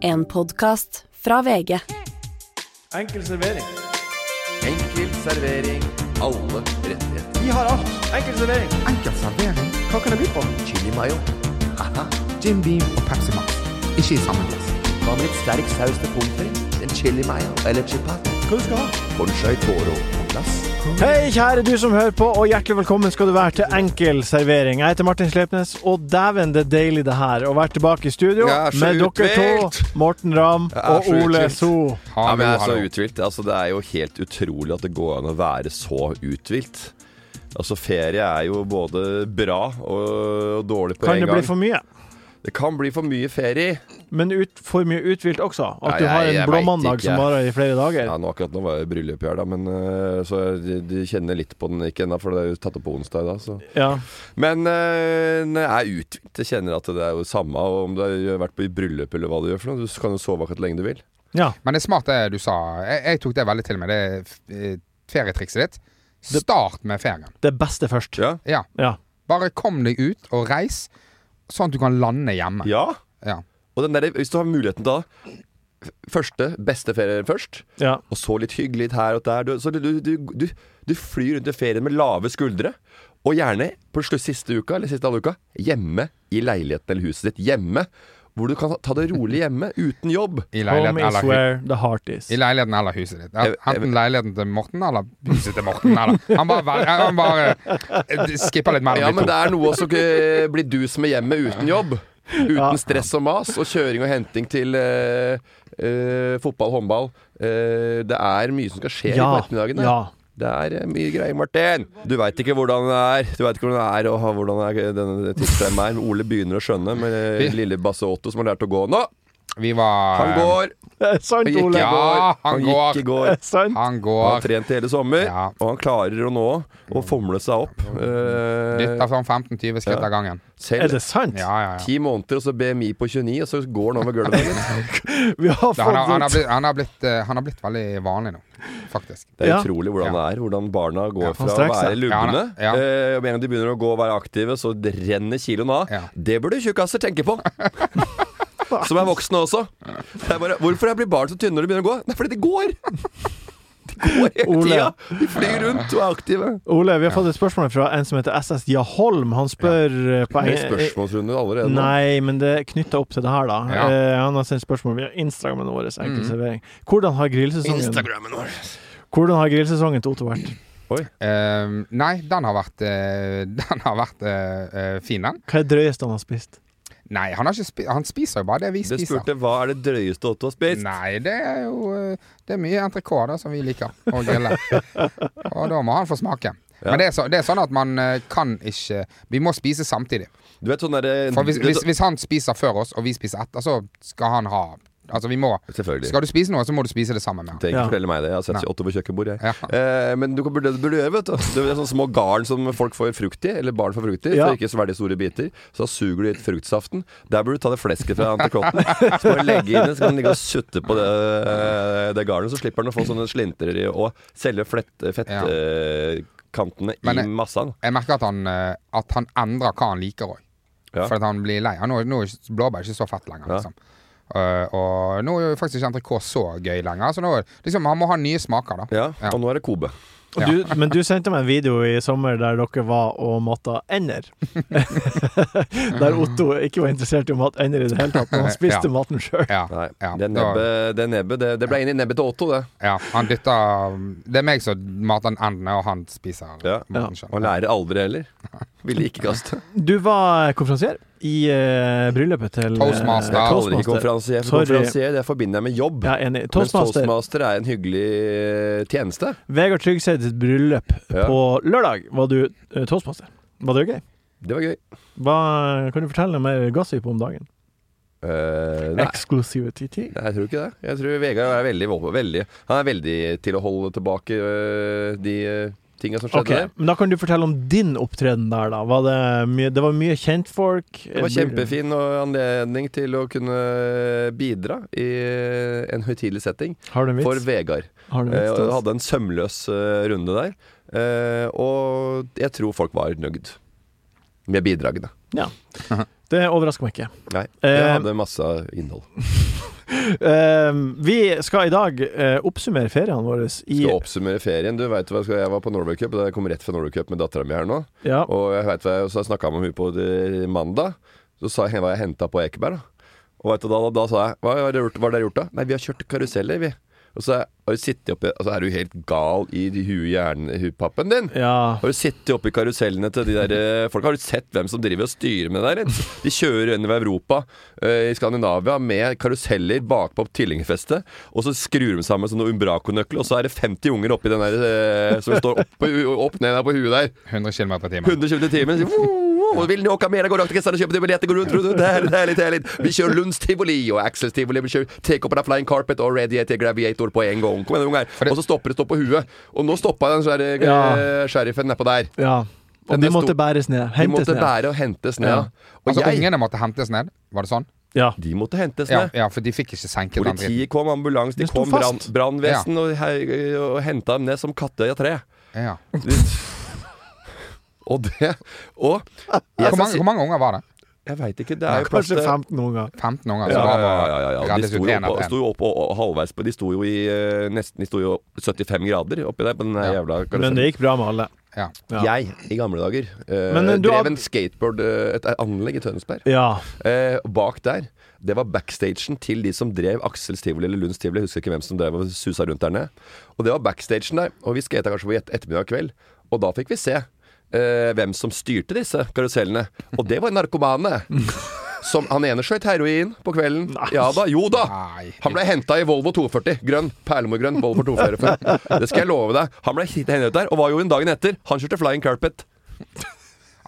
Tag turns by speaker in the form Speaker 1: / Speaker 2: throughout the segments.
Speaker 1: En podkast fra VG.
Speaker 2: Enkel servering.
Speaker 3: Enkel servering. Alle rettigheter.
Speaker 2: Vi har alt. Enkel servering.
Speaker 4: Enkel servering,
Speaker 2: Hva kan jeg by på?
Speaker 3: Chili mayo. Haha.
Speaker 4: Jim Beam og Pepsi Max. Ikke i samme glass.
Speaker 3: Hva med litt sterk saus til pommes frites? En chili mayo eller chipat?
Speaker 2: Hva du skal ha?
Speaker 3: Conchai toro på glass.
Speaker 2: Hei, kjære du som hører på, og hjertelig velkommen skal du være til Enkel servering. Jeg heter Martin Slepnes, og dæven det er deilig det her å være tilbake i studio
Speaker 5: Jeg er så
Speaker 2: med dere
Speaker 5: uthvilt.
Speaker 2: to, Morten Ramm
Speaker 5: Jeg er
Speaker 2: og
Speaker 5: så
Speaker 2: Ole
Speaker 5: uthvilt.
Speaker 2: So.
Speaker 3: Ja, men jeg er så
Speaker 5: Hallo,
Speaker 3: uthvilt. Altså, det er jo helt utrolig at det går an å være så uthvilt. Altså, ferie er jo både bra og dårlig på
Speaker 2: Kan
Speaker 3: en
Speaker 2: det bli
Speaker 3: gang.
Speaker 2: for mye?
Speaker 3: Det kan bli for mye ferie.
Speaker 2: Men ut, for mye uthvilt også? At
Speaker 3: Nei,
Speaker 2: du har
Speaker 3: jeg-
Speaker 2: en
Speaker 3: jeg vet
Speaker 2: blåmandag
Speaker 3: ikke.
Speaker 2: som varer i flere dager?
Speaker 3: Ja, nå akkurat nå var det bryllup her, da, men eh, så jeg de kjenner litt på den ikke ennå, for det er jo tatt opp på onsdag i dag, så
Speaker 2: Ja.
Speaker 3: Men eh, når jeg er uthvilt. Jeg kjenner at det er jo samme og om du har vært på i bryllup eller hva du gjør for noe. Du kan jo sove akkurat lenge du vil.
Speaker 2: ja.
Speaker 5: Men det er smart det du sa. Jeg, jeg tok det veldig til meg. Det er f- eh, ferietrikset ditt. Start med ferien.
Speaker 2: Det beste først.
Speaker 3: Ja.
Speaker 5: Ja.
Speaker 2: Ja.
Speaker 5: Bare kom deg ut og reis, sånn at du kan lande hjemme.
Speaker 3: ja.
Speaker 5: Ja.
Speaker 3: Og den der, hvis du har muligheten da f- Første, beste ferien først,
Speaker 2: ja.
Speaker 3: og så litt hyggelig litt her og der. Du, så du, du, du, du, du flyr rundt i ferien med lave skuldre, og gjerne på slutt siste uka eller siste halve uka hjemme i leiligheten eller huset ditt. Hjemme. Hvor du kan ta det rolig hjemme, uten jobb.
Speaker 5: I,
Speaker 2: Home
Speaker 5: leiligheten
Speaker 2: is
Speaker 5: eller, hu-
Speaker 2: where the heart is.
Speaker 5: I leiligheten eller huset ditt.
Speaker 3: Jeg- jeg-
Speaker 5: Enten leiligheten til Morten eller huset til Morten. Eller. Han bare, vel- han bare eh, skipper litt
Speaker 3: Ja,
Speaker 5: mellom
Speaker 3: men det
Speaker 5: de to.
Speaker 3: er noe som ikke blir du som er hjemme uten jobb.
Speaker 2: Ja.
Speaker 3: Uten stress og mas, og kjøring og henting til eh, eh, fotball, håndball. Eh, det er mye som skal skje i
Speaker 2: Ja.
Speaker 3: ettermiddagene.
Speaker 2: ja.
Speaker 3: Det er eh, mye greier, Martin. Du veit ikke hvordan det er Du vet ikke hvordan det er å ha hvordan det er denne tidsskjermen er. Ole begynner å skjønne med eh, lille Basse Otto som har lært å gå nå.
Speaker 5: Vi var
Speaker 3: Han går!
Speaker 2: Det er sant,
Speaker 3: Han gikk i
Speaker 2: Ole.
Speaker 5: Ja,
Speaker 3: går.
Speaker 5: han går.
Speaker 3: gikk i går.
Speaker 2: Det er sant.
Speaker 5: Han
Speaker 3: Han har
Speaker 5: går.
Speaker 3: trent i hele sommer,
Speaker 5: Ja.
Speaker 3: og han klarer å nå å formle seg opp. Eh,
Speaker 5: Dytter sånn 15-20 skritt av gangen.
Speaker 3: selv
Speaker 2: Er det sant?
Speaker 5: Ja, ja, ja.
Speaker 3: Ti måneder, og så BMI på 29, og så går han over gulvet. igjen.
Speaker 2: Vi har
Speaker 5: Han har, han, har
Speaker 2: fått
Speaker 5: blitt, han, har blitt, eh, han har blitt veldig vanlig nå, faktisk.
Speaker 3: Det er
Speaker 2: Ja.
Speaker 3: utrolig hvordan det er. Hvordan barna går
Speaker 5: Ja,
Speaker 3: fra å
Speaker 2: strekker
Speaker 3: være
Speaker 2: seg.
Speaker 3: lubne
Speaker 5: Ja, han-
Speaker 3: eh, og Med en gang de begynner å gå og være aktive, så renner kiloen av.
Speaker 5: Ja.
Speaker 3: Det burde tjukkaser tenke på! Som er voksne også. Det er bare, hvorfor er- blir barn så tynne når de begynner å gå? Det er fordi de går! De går hele
Speaker 2: Ole.
Speaker 3: tida! De flyr rundt og er aktive.
Speaker 2: Ole, vi har fått et spørsmål fra en som heter SS Jaholm. Han spør eh, på
Speaker 3: Det
Speaker 2: en
Speaker 3: er spørsmålsrunde allerede nå.
Speaker 2: Nei, men det er knytta opp til det her, da.
Speaker 5: Ja. Mm.
Speaker 2: Eh, han har sendt spørsmål via Instagrammen vår. Enkel servering. Hvordan har
Speaker 5: sånn-
Speaker 2: grillsesongen
Speaker 3: Instagrammen vår.
Speaker 2: Hvordan har grillsesongen til Otto vært?
Speaker 5: Eh, nei, den har vært, eh, den har vært eh, eh, fin, den.
Speaker 2: Hva er det drøyeste han har spist?
Speaker 5: Nei, han, har ikke spi han spiser jo bare det vi
Speaker 3: Det
Speaker 5: spiser.
Speaker 3: spurte hva er det drøyeste Otto har spist.
Speaker 5: Nei, det er jo eh, Det er mye NTK da som vi liker å grille. og da må han få smake.
Speaker 3: Ja.
Speaker 5: Men det er, så, det er sånn at man eh, kan ikke Vi må spise samtidig.
Speaker 3: Du vet sånn derre
Speaker 5: For hvis, hvis, hvis han spiser før oss, og vi spiser etter, så skal han ha Altså, vi må
Speaker 3: Selvfølgelig.
Speaker 5: Skal du spise noe, så må du spise det sammen med han.
Speaker 3: Trenger ikke
Speaker 2: Ja.
Speaker 3: fortelle meg det. Jeg har sett
Speaker 5: Nei.
Speaker 3: Otto på kjøkkenbord, jeg.
Speaker 5: Ja.
Speaker 3: Eh, men du kan- burde, burde gjøre, vet du. Det er sånne små garn som folk får frukt i, eller barn får frukt i,
Speaker 2: Ja.
Speaker 3: for ikke så veldig store biter. Så da suger du litt fruktsaften. Der burde du ta det flesket fra antikrotten. Så bare legge inn det, så kan du ligge og sutte på det, det garnet. Så slipper han å få sånne slintrer i, og selve
Speaker 5: Ja.
Speaker 3: fettkantene
Speaker 5: Men
Speaker 3: eh, i
Speaker 5: jeg-
Speaker 3: massaen.
Speaker 5: Jeg merker at han, eh, at han endrer hva han liker òg.
Speaker 3: Ja.
Speaker 5: For at han blir lei. Han, nå, nå er ikke- blåbær er ikke så fett lenger.
Speaker 3: Ja.
Speaker 5: Liksom. Eh, og nå er jo faktisk ikke NTK så gøy lenger. Så nå, liksom, han må ha nye smaker, da.
Speaker 3: Ja,
Speaker 5: Ja.
Speaker 3: og nå er det Kobe.
Speaker 2: Og
Speaker 5: Ja.
Speaker 2: Du, men du sendte meg en video i sommer der dere var og matta ender. der Otto ikke var interessert i å mate ender i det hele tatt, men han spiste
Speaker 5: Ja.
Speaker 2: maten sjøl.
Speaker 5: Ja.
Speaker 3: Nei,
Speaker 5: Ja,
Speaker 3: det
Speaker 5: da-
Speaker 3: nebbet, det, nebbet det, det ble inn i nebbet til Otto, det.
Speaker 5: Ja, han dytter mm, Det er meg som mater endene, og han spiser
Speaker 3: Ja. Og
Speaker 5: maten
Speaker 3: han
Speaker 5: sjøl.
Speaker 3: lærer aldri heller. Ville ikke kaste.
Speaker 2: Du var konferansier i eh, bryllupet til eh,
Speaker 5: Toastmaster.
Speaker 3: Jeg kaller det ikke
Speaker 2: Toastmaster.
Speaker 3: konferansier,
Speaker 2: Sorry.
Speaker 3: for konferansier det forbinder jeg med jobb.
Speaker 2: Ja, enig.
Speaker 3: Mens
Speaker 2: Toastmaster.
Speaker 3: Toastmaster er en hyggelig eh, tjeneste.
Speaker 2: Vegard Tryggseids bryllup
Speaker 3: Ja.
Speaker 2: på lørdag var du eh, toastmaster. Var det gøy?
Speaker 3: Det var gøy.
Speaker 2: Hva, kan du fortelle mer gossip om dagen?
Speaker 3: Eh, nei,
Speaker 2: Exclusivity.
Speaker 3: nei, jeg tror ikke det. Jeg tror Vegard er veldig, veldig Han er veldig til å holde tilbake eh, de uh, tinga som skjedde
Speaker 2: Ok,
Speaker 3: der.
Speaker 2: men Da kan du fortelle om din opptreden der, da. Var det, mye, det var mye kjentfolk.
Speaker 3: Det var kjempefin og anledning til å kunne bidra i eh, en høytidelig setting
Speaker 2: Har du en
Speaker 3: for
Speaker 2: vits?
Speaker 3: Vegard.
Speaker 2: Har du en
Speaker 3: Eh,
Speaker 2: vits
Speaker 3: og
Speaker 2: til oss?
Speaker 3: hadde en sømløs eh, runde der. Eh, og jeg tror folk var nøyd med bidragene.
Speaker 2: Det overrasker meg ikke.
Speaker 3: Nei,
Speaker 2: Eh,
Speaker 3: jeg hadde masse innhold.
Speaker 2: Ehm, vi skal i dag eh, oppsummere feriene våre i
Speaker 3: Skal oppsummere ferien. Du vet hva, jeg skal- jeg var på Norway Cup, og jeg kom rett fra Norway Cup med dattera mi her nå.
Speaker 2: ja,
Speaker 3: Og jeg vet hva jeg, så jeg snakka med henne på det- mandag. Så sa jeg hva jeg henta på Ekeberg. Da. Og vet du, da, da, da sa jeg Hva har dere gjort, hva har dere gjort da? Nei, vi har kjørt karuseller, vi. Og så er- har du sittet oppi Altså, er du helt gal i huet-hjernen-pappen din?
Speaker 2: ja.
Speaker 3: Har du sittet oppi karusellene til de der eh, folka? Har du sett hvem som driver og styrer med det der? De kjører gjennom Europa, eh, i Skandinavia, med karuseller bakpå tilhengerfestet, og så skrur de sammen som noen Umbraco-nøkler, og så er det 50 unger oppi den der eh, som står opp, opp ned der på huet der.
Speaker 5: 100 km i timen.
Speaker 3: 120 timer. sier, «Woo, woo, Vil ni åka med? Gå rakt til kassene og kjøpe de billetter. Gå rundt, rundt, rundt. Det er litt herlig, det er litt. Vi kjører Lunds tivoli og Axels tivoli. Vi kjører Takeover av Flying Carpet og Radiator Graviator på en gang. Kom igjen, unger. Og så stopper det stå på huet. Og nå stoppa den svære eh,
Speaker 2: Ja.
Speaker 3: sheriffen nedpå der.
Speaker 2: ja. Og
Speaker 3: Den
Speaker 2: de
Speaker 3: er
Speaker 2: måtte
Speaker 3: stor.
Speaker 2: bæres ned.
Speaker 3: De
Speaker 2: Hentes
Speaker 3: måtte
Speaker 2: ned.
Speaker 3: bære og hentes ned.
Speaker 2: Ja.
Speaker 3: Og
Speaker 5: Altså,
Speaker 3: jeg
Speaker 5: ungene måtte hentes ned, var det sånn?
Speaker 2: Ja.
Speaker 3: De måtte hentes
Speaker 5: Ja,
Speaker 3: ned.
Speaker 5: ja for de fikk ikke senket den dritten.
Speaker 3: Politiet kom, ambulanse, de
Speaker 2: Det sto
Speaker 3: kom, brann-
Speaker 2: fast.
Speaker 3: brannvesen og, hei- og henta dem ned som katter i et tre.
Speaker 5: Ja.
Speaker 3: Og det Og jeg,
Speaker 5: Hvor, mange, hvor mange unger var det?
Speaker 3: jeg veit ikke, det er jo plass
Speaker 2: Kanskje
Speaker 3: til
Speaker 2: 15 unger.
Speaker 5: 15 unger?
Speaker 3: Ja,
Speaker 5: så da
Speaker 3: ja, ja,
Speaker 5: var-
Speaker 3: ja, ja. De
Speaker 5: reddes
Speaker 3: sto jo,
Speaker 5: ut en
Speaker 3: opp,
Speaker 5: etter
Speaker 3: sto
Speaker 5: en.
Speaker 3: jo opp og, og halvveis på De sto jo i eh, nesten De sto jo 75 grader oppi der på den her
Speaker 5: Ja.
Speaker 3: jævla
Speaker 2: Men
Speaker 3: karusellen.
Speaker 2: det gikk bra med alle.
Speaker 5: Ja.
Speaker 2: Ja.
Speaker 3: Jeg, i gamle dager, eh,
Speaker 2: Men, eh, du har-
Speaker 3: drev en skateboard eh, Et anlegg i Tønsberg.
Speaker 2: Ja.
Speaker 3: Eh, bak der, det var backstagen til de som drev Aksels tivoli eller Lunds tivoli. Jeg husker ikke hvem som drev og susa rundt der nede. Og det var backstagen der. Og vi skata kanskje på et ettermiddag og kveld, og da fikk vi se eh, hvem som styrte disse karusellene. Og det var narkomane. Som han ene skøyt heroin på kvelden. Ja da, jo da!
Speaker 5: Nei.
Speaker 3: Han ble henta i Volvo 240. Grønn. Perlemorgrønn Volvo 245. Det skal jeg love deg. Han ble hentet ut der, og var jo en dagen etter. Han kjørte flying carpet.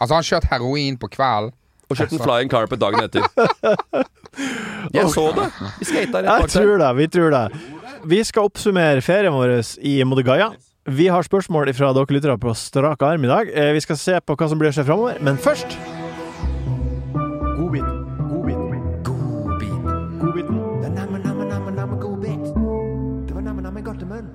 Speaker 5: Altså, han kjørte heroin på kvelden.
Speaker 3: Og kjørte en flying carpet dagen etter. Jeg så det. Vi skata rett
Speaker 2: Jeg
Speaker 3: bak der.
Speaker 2: tror det. Vi tror det. Vi skal oppsummere ferien vår i Modigaya. Vi har spørsmål fra dere lyttere på strak arm i dag. Eh, Vi skal se på hva som blir å skje framover, men først
Speaker 4: Godbit. Godbit. Godbit. Godbiten. Det er namme, namme, namme, namme godbit. Det var namme, namme godt i munnen.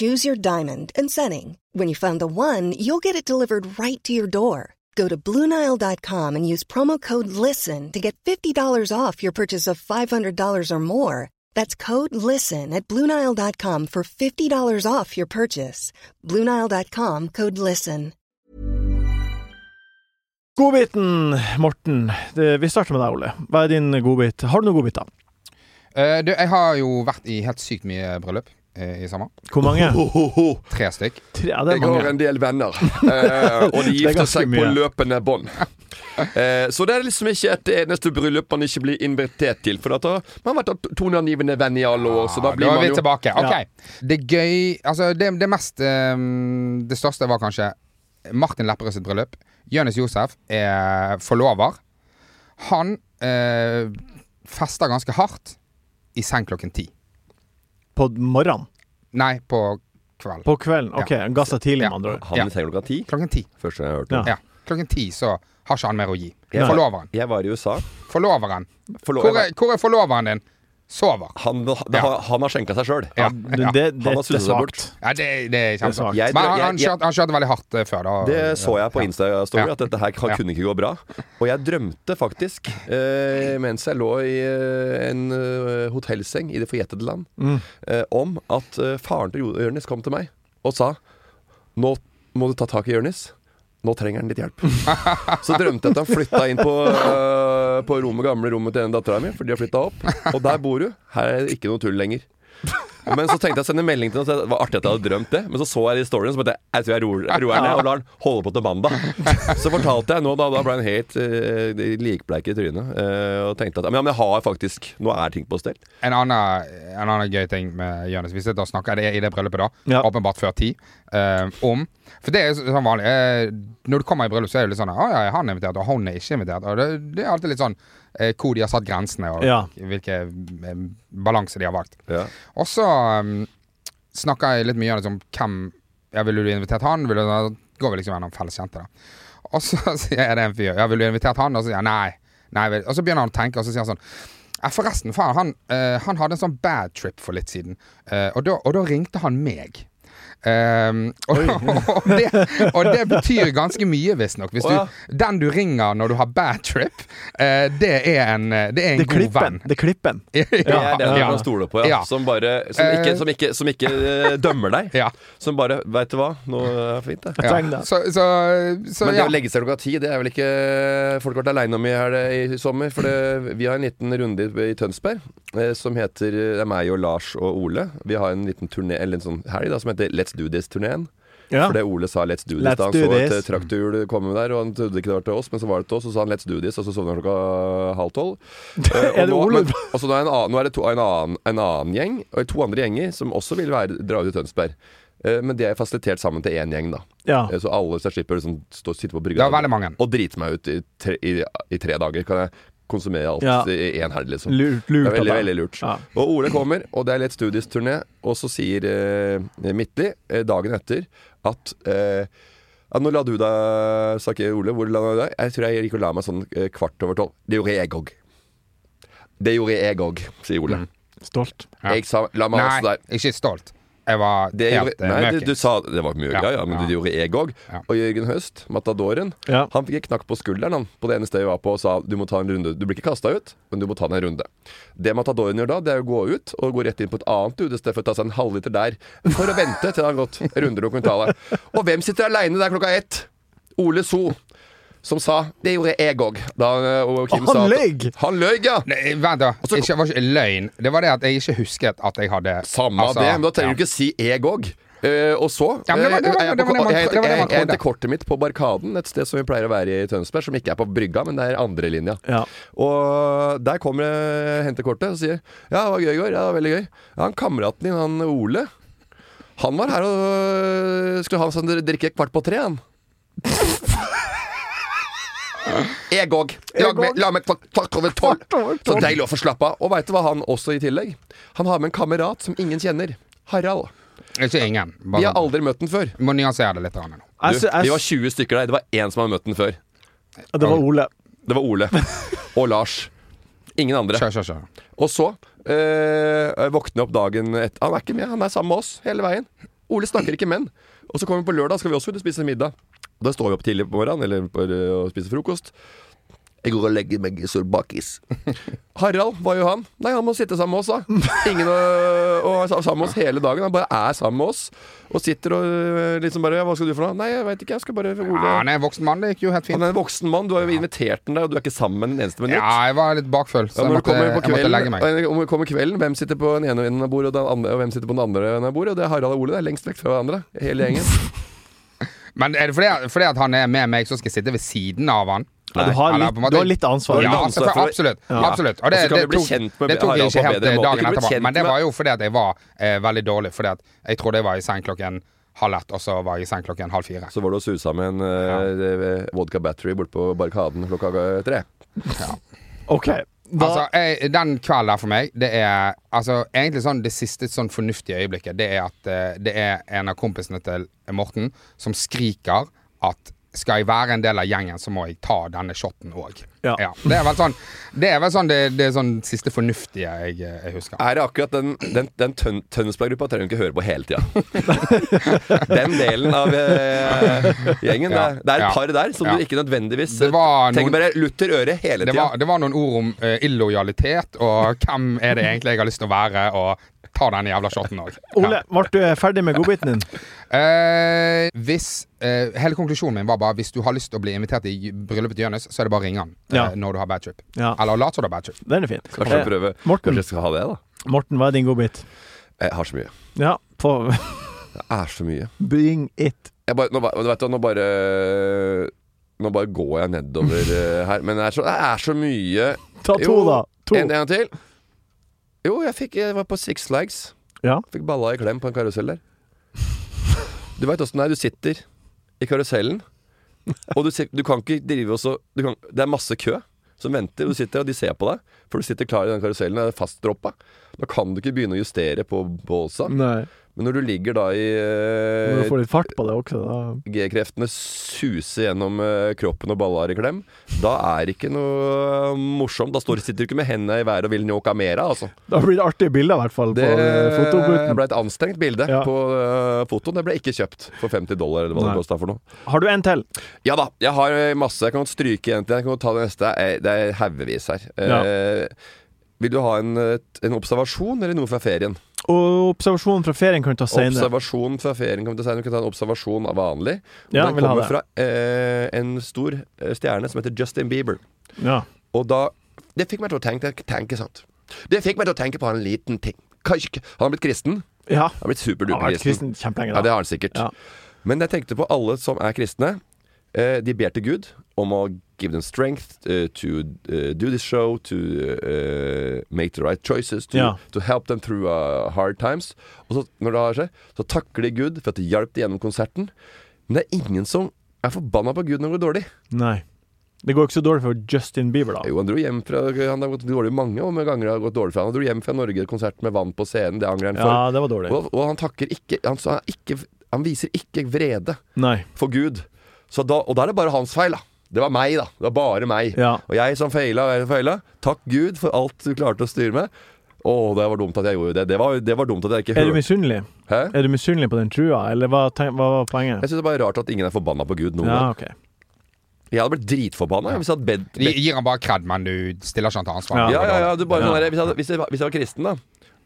Speaker 6: Choose your diamond and setting. When you find the one, you'll get it delivered right to your door. Go to Bluenile.com and use promo code LISTEN to get $50 off your purchase of $500 or more. That's code LISTEN at Bluenile.com for $50 off your purchase. Bluenile.com code LISTEN.
Speaker 2: Godbiten, Morten. Det, vi starter med deg, Ole. Hva er din godbit? Har du noen godbiter?
Speaker 5: Eh, du, jeg har jo vært i helt sykt mye bryllup eh, i sommer.
Speaker 2: Hvor mange?
Speaker 3: Ho, ho, ho.
Speaker 5: Tre stykk.
Speaker 2: Tre, ja, det er
Speaker 3: Jeg har
Speaker 2: mange.
Speaker 3: en del venner, eh, og de
Speaker 2: Det er
Speaker 3: gifter
Speaker 2: ganske
Speaker 3: seg på
Speaker 2: mye.
Speaker 3: løpende bånd. Eh, så det er liksom ikke et eneste bryllup man ikke blir invitert til. For at da, man har vært toneangivende venn i alle år, så da
Speaker 5: Ja,
Speaker 3: blir
Speaker 5: da er
Speaker 3: man
Speaker 5: vi
Speaker 3: jo
Speaker 5: tilbake. Ok.
Speaker 2: Ja.
Speaker 5: Det gøy Altså, det, det mest ehm, Det største var kanskje Martin Lepperød sitt bryllup. Jonis Josef er forlover. Han eh, fester ganske hardt i seng klokken ti.
Speaker 2: På morgenen?
Speaker 5: Nei, på kvelden.
Speaker 2: På kvelden? Ok,
Speaker 5: Ja.
Speaker 2: han ga seg tidlig,
Speaker 5: Ja.
Speaker 2: med andre ord.
Speaker 3: Han trenger klokka ti.
Speaker 5: Klokken ti.
Speaker 3: Første gang jeg hørte
Speaker 2: Ja.
Speaker 3: det.
Speaker 5: Ja. Klokken ti så har ikke han mer å gi.
Speaker 3: Ja.
Speaker 5: Forloveren.
Speaker 3: Jeg var i USA.
Speaker 5: Forloveren.
Speaker 3: Forlo-
Speaker 5: Hvor er, hvor er forloveren din? Sover.
Speaker 3: han, det,
Speaker 5: Ja.
Speaker 3: han har skjenka seg sjøl.
Speaker 5: Ja.
Speaker 2: Du,
Speaker 5: ja.
Speaker 2: Det, det, det
Speaker 3: har
Speaker 2: er
Speaker 3: susset seg bort.
Speaker 2: svakt.
Speaker 5: ja det, det er
Speaker 2: Det er svakt.
Speaker 5: kjempebra.
Speaker 3: Jeg
Speaker 5: Men
Speaker 3: tror-
Speaker 5: han,
Speaker 3: jeg-
Speaker 5: han,
Speaker 3: jeg-
Speaker 5: kjørte, han kjørte veldig hardt eh, før. Da.
Speaker 3: Det så jeg på
Speaker 5: Ja.
Speaker 3: Insta-story,
Speaker 5: Ja.
Speaker 3: at dette her kan-
Speaker 5: Ja.
Speaker 3: kunne ikke gå bra. Og jeg drømte faktisk, eh, mens jeg lå i eh, en eh, hotellseng i det forjettede land,
Speaker 5: Mm.
Speaker 3: eh, om at eh, faren til Jo- Jonis kom til meg og sa Nå må du ta tak i Jonis. Nå trenger han litt hjelp. Så drømte jeg at han flytta inn på, eh, på rommet, gamle rommet til en dattera mi, for de har flytta opp. Og der bor du. Her er det ikke noe tull lenger. Men så tenkte jeg å sende en melding til ham, det var artig at jeg hadde drømt det. Men så så jeg de storyene, så bare jeg tror jeg roer roer den ned og lar den holde på til mandag. Så fortalte jeg nå, da, da ble han helt uh, likbleik i trynet. eh, og tenkte at ja, men jeg har faktisk Nå er ting på stell.
Speaker 5: En annen, en annen gøy ting med Jonis Vi sitter og snakker det er i det bryllupet, da.
Speaker 2: Ja.
Speaker 5: Åpenbart før ti. eh, om For det er jo så- sånn vanlig. eh, når du kommer i bryllup, så er det litt sånn Å ja, han er invitert, og hun er ikke invitert. Og det, det er alltid litt sånn eh, hvor de har satt grensene, og
Speaker 2: Ja.
Speaker 5: hvilke eh, balanse de har valgt.
Speaker 3: Ja.
Speaker 5: Og så um, snakker jeg litt mye om liksom, hvem ja, Ville du invitert han? Ville du, da går vi liksom gjennom felleskjente, da. Og så sier jeg det en fyr. Ja, ville du invitert han? Og så sier jeg nei. nei vel. Og så begynner han å tenke, og så sier han sånn ja, Forresten, faen, han, eh, han hadde en sånn bad trip for litt siden, Eh, og, da, og da ringte han meg. Ehm, og, og, det, og det betyr ganske mye, visstnok. Hvis
Speaker 3: Å, ja.
Speaker 5: du- Den du ringer når du har bad trip, eh, det er en, eh, det er en
Speaker 2: Det er
Speaker 5: god
Speaker 2: klippen.
Speaker 5: venn.
Speaker 2: Det er klippen.
Speaker 3: Det er det
Speaker 5: Ja.
Speaker 3: man kan stole på, ja.
Speaker 5: Ja.
Speaker 3: Som bare Som ikke, som ikke, som ikke eh, dømmer deg.
Speaker 5: Ja.
Speaker 3: Som bare Veit du hva, nå er det fint, det.
Speaker 5: Ja.
Speaker 2: Trenger det.
Speaker 5: Så, så, så
Speaker 3: Men det
Speaker 5: ja.
Speaker 3: å legge seg klokka ti, det er vel ikke folk har vært aleine om i her det, i sommer. For det, vi har en liten runde i, i Tønsberg eh, som heter Det er meg og Lars og Ole. Vi har en liten turné, eller en sånn helg da, som heter Let's Do This-turneen.
Speaker 2: Ja.
Speaker 3: For det Ole sa 'Let's do this'
Speaker 2: Let's
Speaker 3: da han
Speaker 2: do
Speaker 3: så et
Speaker 2: this.
Speaker 3: eh, traktorhjul komme der. Og han trodde ikke det var til oss, men så var det til oss, og så sa han 'Let's do this', og så sovna han klokka halv tolv. Eh, og
Speaker 2: Er det
Speaker 3: nå-
Speaker 2: Ole?
Speaker 3: men- og så nå er, en annen, nå er det to, en, annen, en annen gjeng, og to andre gjenger, som også vil være, dra ut i Tønsberg. Eh, Men det er fasilitert sammen til én gjeng, da.
Speaker 2: Ja.
Speaker 3: Eh, Så alle så jeg slipper å liksom stå, sitte på
Speaker 5: Det
Speaker 3: brygga
Speaker 5: var veldig mange.
Speaker 3: og drite meg ut i tre, i, i tre dager. Kan jeg konsumere alt
Speaker 2: Ja.
Speaker 3: i én helg, liksom.
Speaker 2: Lurt, lurt.
Speaker 3: Det er veldig,
Speaker 2: av deg.
Speaker 3: veldig lurt.
Speaker 2: Ja.
Speaker 3: Og Ole kommer, og det er litt studiesturné, og så sier eh, Midtly eh, dagen etter at eh, ja, nå la du deg, sa ikke Ole. Hvor la du deg? Jeg tror jeg gikk og la meg sånn eh, kvart over tolv. Det gjorde jeg òg. Det gjorde jeg òg, sier
Speaker 2: Mm.
Speaker 3: Ole.
Speaker 2: Stolt.
Speaker 5: Ja.
Speaker 3: Jeg sa la meg også
Speaker 5: Nei,
Speaker 3: der.
Speaker 5: ikke stolt. Jeg var
Speaker 3: Det
Speaker 5: helt eh,
Speaker 3: gjorde, nei, du,
Speaker 5: møkings.
Speaker 3: du sa Det var mye,
Speaker 5: Ja,
Speaker 3: ja, ja, men
Speaker 5: ja.
Speaker 3: det gjorde jeg òg.
Speaker 5: Ja.
Speaker 3: Og Jørgen Høst, matadoren,
Speaker 2: Ja.
Speaker 3: han fikk en knakk på skulderen han, på det ene stedet vi var på og sa du må ta en runde. Du blir ikke kasta ut, men du må ta deg en runde. Det Matadoren gjør da, det er å gå ut og gå rett inn på et annet utested for å ta seg en halvliter der. For å vente til det har gått runder og kvartaler. Og hvem sitter aleine der klokka ett? Ole So. Som sa 'Det gjorde jeg òg'. Da, og Kim
Speaker 2: Og
Speaker 3: sa
Speaker 2: han
Speaker 3: at-
Speaker 2: løy!
Speaker 3: Han løy, ja!
Speaker 5: Nei, vent, da.
Speaker 3: så-
Speaker 5: Ikke, var ikke løgn. Det var det at jeg ikke husket at jeg hadde
Speaker 3: Samme
Speaker 5: altså,
Speaker 3: av det, men da trenger
Speaker 5: ja.
Speaker 3: du ikke si 'jeg òg'. Eh, og så
Speaker 5: Ja, men det var- det var-
Speaker 3: eh, er jeg
Speaker 5: det var
Speaker 3: på-
Speaker 5: det man-
Speaker 3: jeg
Speaker 5: det var det man
Speaker 3: henter- Jeg henter
Speaker 5: trodde.
Speaker 3: kortet mitt på Barkaden, et sted som vi pleier å være i Tønsberg, som ikke er på brygga, men det er andrelinja.
Speaker 2: Ja.
Speaker 3: Og der kommer jeg, henter kortet og sier 'Ja, det var gøy i går. Ja, det var veldig gøy'. Ja, han kameraten din, han Ole, han var her og eh, skulle ha seg en drikke kvart på tre, han. Jeg òg. La meg- la meg kvart kvart over tolv. Så deilig å få slappe av. Og veit du hva han også i tillegg? Han har med en kamerat som ingen kjenner. Harald.
Speaker 5: Ikke ingen.
Speaker 3: Vi
Speaker 5: Bare, sånn-
Speaker 3: har aldri møtt den før.
Speaker 5: Må nyansere det litt grann nå.
Speaker 3: Du,
Speaker 2: Jeg, sy- jeg,
Speaker 3: vi var 20 stykker der. Det var én som hadde møtt den før.
Speaker 2: sy- det var Ole.
Speaker 3: Det var Ole. Og Lars. Ingen andre.
Speaker 5: Kjør, kjør, kjør.
Speaker 3: Og så eh, våkner jeg opp dagen etter Han er ikke med, han er sammen med oss hele veien. Ole snakker ikke menn. Og så kommer vi på lørdag, skal vi også ut og spise middag. Og da står vi opp tidlig på morgenen eller på, eh, og spiser frokost. Jeg går og legger meg i solbakis. Harald var jo han. Nei, han må sitte sammen med oss, da. Ingen å, og er sa- sammen med oss hele dagen. Han bare er sammen med oss. Og sitter og eh, liksom bare Hva skal du for noe? Nei, jeg veit ikke. Jeg skal bare
Speaker 5: Ja,
Speaker 3: Ole.
Speaker 5: han er en voksen mann. Det gikk jo helt
Speaker 3: Han
Speaker 5: fint.
Speaker 3: er en voksen mann. Du har jo invitert den der, og du er ikke sammen med den eneste minutt.
Speaker 5: Ja, jeg var litt bakfull, så
Speaker 3: Ja,
Speaker 5: jeg,
Speaker 3: når du
Speaker 5: måtte,
Speaker 3: kommer på
Speaker 5: jeg måtte
Speaker 3: kvelden,
Speaker 5: legge meg.
Speaker 3: og når du kommer kvelden Hvem sitter på den ene enden av bordet, og, den andre, og hvem sitter på den andre enden av bordet? Og det er Harald og Ole. Det er lengst vekk fra hverandre, hele gjengen.
Speaker 5: Men er det fordi, fordi at han er med meg, så skal jeg sitte ved siden av han?
Speaker 2: Ja, du, har
Speaker 5: Eller
Speaker 2: litt,
Speaker 5: på en måte-
Speaker 2: du har litt ansvar.
Speaker 5: Ja,
Speaker 3: litt ansvar
Speaker 5: altså,
Speaker 3: for-
Speaker 5: absolutt. absolutt. Og
Speaker 3: Og
Speaker 5: det,
Speaker 3: så kan
Speaker 5: det,
Speaker 3: vi bli
Speaker 5: tok,
Speaker 3: kjent med
Speaker 5: det tok
Speaker 3: Harald
Speaker 5: jeg
Speaker 3: på
Speaker 5: ikke
Speaker 3: en
Speaker 5: helt
Speaker 3: bedre
Speaker 5: eh,
Speaker 3: måte.
Speaker 5: dagen
Speaker 3: Ikke bli
Speaker 5: etterpå.
Speaker 3: kjent
Speaker 5: Men det
Speaker 3: med-
Speaker 5: var jo fordi at jeg var eh, veldig dårlig. Fordi at jeg trodde jeg var i seng klokken halv ett, og så var jeg i seng klokken halv fire.
Speaker 3: Så var du og susa med en eh, vodka battery borte på Barkaden klokka eh, tre.
Speaker 2: OK. Da,
Speaker 5: altså, jeg, den kvelden der for meg, det er altså, egentlig sånn det siste sånn fornuftige øyeblikket. Det er at eh, det er en av kompisene til Morten som skriker at skal jeg være en del av gjengen, så må jeg ta denne shoten òg.
Speaker 2: Ja.
Speaker 5: Det er vel sånn det er vel sånn det, det er sånn siste fornuftige jeg, eh, jeg husker.
Speaker 3: Er det akkurat den, den, den tøn, Tønsberg-gruppa trenger du ikke høre på hele tida. den delen av eh, gjengen.
Speaker 5: Ja.
Speaker 3: Det, det er
Speaker 5: Ja.
Speaker 3: et par der som
Speaker 5: Ja.
Speaker 3: du ikke nødvendigvis
Speaker 5: Det var
Speaker 3: Tenk
Speaker 5: noen-
Speaker 3: bare lutter øret hele
Speaker 5: Det
Speaker 3: tida.
Speaker 5: var, det var noen ord om eh, illojalitet og hvem er det egentlig jeg har lyst til å være, og ta den jævla shoten òg.
Speaker 2: Ole, ble du ferdig med godbiten din?
Speaker 5: Eh, hvis, eh, hele konklusjonen min var bare hvis du har lyst til å bli invitert i j- bryllupet til Jonis, så er det bare å ringe han eh,
Speaker 2: Ja.
Speaker 5: når du har bad trip.
Speaker 2: Ja.
Speaker 5: Eller lat som du har bad trip.
Speaker 2: Den er fin.
Speaker 3: Kanskje
Speaker 2: Eh,
Speaker 3: prøve
Speaker 2: Morten.
Speaker 3: Kanskje jeg skal ha det, da.
Speaker 2: Morten, hva er din godbit?
Speaker 3: Jeg har så mye.
Speaker 2: Ja, på
Speaker 3: Det er så mye.
Speaker 2: Bring it.
Speaker 3: Jeg bare, nå, bare- vet du, hva, nå bare Nå bare går jeg nedover eh, her. Men det er så, det er så mye.
Speaker 2: Ta to,
Speaker 3: Jo,
Speaker 2: da. To.
Speaker 3: En, en til. Jo, jeg, fikk, jeg var på Six Flags.
Speaker 2: Ja.
Speaker 3: Fikk balla i klem på en karusell der. Du veit åssen det er. Du sitter i karusellen, og du, sit- du kan ikke drive også du kan, Det er masse kø som venter, og du sitter og de ser på deg. For du sitter klar i den karusellen og er fastdroppa. Da kan du ikke begynne å justere på båsa.
Speaker 2: Nei.
Speaker 3: Men når du ligger da i
Speaker 2: Må
Speaker 3: eh,
Speaker 2: Mm. du få litt fart på det også, da.
Speaker 3: G-kreftene suser gjennom eh, kroppen og baller i klem, da er det ikke noe eh, morsomt. Da står, sitter du ikke med hendene i været og vil njoka mera, altså.
Speaker 2: Da blir det artige bilder, i hvert fall,
Speaker 3: Det
Speaker 2: på eh, fotobooten.
Speaker 3: ble et anstrengt bilde
Speaker 2: Ja.
Speaker 3: på eh, fotoen. Det ble ikke kjøpt for 50 dollar, eller hva
Speaker 2: Nei.
Speaker 3: det kosta for noe.
Speaker 2: Har du en til?
Speaker 3: Ja da, jeg har eh, masse. Jeg kan godt stryke en til. Jeg kan godt ta det neste. Eh, Det er haugevis her. Eh, Vil du ha en, eh, en observasjon eller noe fra ferien?
Speaker 2: Og observasjonen fra ferien kan du ta senere.
Speaker 3: Observasjon fra ferien kan vi ta senere. Vi kan ta en observasjon av vanlig. Og
Speaker 2: Ja,
Speaker 3: den
Speaker 2: vil ha det.
Speaker 3: kommer fra eh, en stor eh, stjerne som heter Justin Bieber.
Speaker 2: Ja.
Speaker 3: Og da Det fikk meg til å tenke, tenke sant? Det fikk meg til å tenke på en liten ting. Kanskje ikke Han har blitt kristen.
Speaker 2: ja.
Speaker 3: Han har blitt
Speaker 2: Han har
Speaker 3: superduper
Speaker 2: vært kristen
Speaker 3: kristen.
Speaker 2: kjempelenge,
Speaker 3: Ja, det
Speaker 2: da.
Speaker 3: har han sikkert.
Speaker 2: Ja.
Speaker 3: Men jeg tenkte på alle som er kristne. Eh, de ber til Gud om å give them strength eh, to eh, do this show, to eh, make the right choices, to,
Speaker 2: Ja.
Speaker 3: to help them through uh, hard times. Og så, når det har seg, så takker de Gud for at de hjalp dem gjennom konserten. Men det er ingen som er forbanna på Gud når det går dårlig.
Speaker 2: Nei. Det går ikke så dårlig for Justin Bieber, da.
Speaker 3: Jo, han dro hjem fra Han har gått dårlig mange om ganger. det har gått dårlig for han. han dro hjem fra Norge-konsert med vann på scenen. Det angrer han for.
Speaker 2: Ja, det var dårlig.
Speaker 3: Og, og han takker ikke han, han, er ikke han viser ikke vrede
Speaker 2: Nei.
Speaker 3: for Gud. Så da, og da er det bare hans feil, da. Det var meg, da. Det var bare meg.
Speaker 2: Ja.
Speaker 3: Og jeg som feila og jeg som feila. Takk Gud for alt du klarte å styre med. Å, det var dumt at jeg gjorde det. Det var, det var dumt at jeg ikke
Speaker 2: Er du
Speaker 3: hørte
Speaker 2: misunnelig?
Speaker 3: Hæ?
Speaker 2: Er du misunnelig på den trua, eller hva, tenk, hva var poenget?
Speaker 3: Jeg syns det er bare rart at ingen er forbanna på Gud noen
Speaker 2: Ja,
Speaker 3: gang.
Speaker 2: ok.
Speaker 3: Jeg hadde blitt dritforbanna hvis jeg hadde bedt
Speaker 5: De gir han bare kred, men du stiller ikke han til ansvar.
Speaker 2: Ja.
Speaker 3: Ja, ja, ja, du bare,
Speaker 2: Ja.
Speaker 3: sånn der, hvis, jeg, hadde- hvis, jeg, var- hvis jeg var kristen da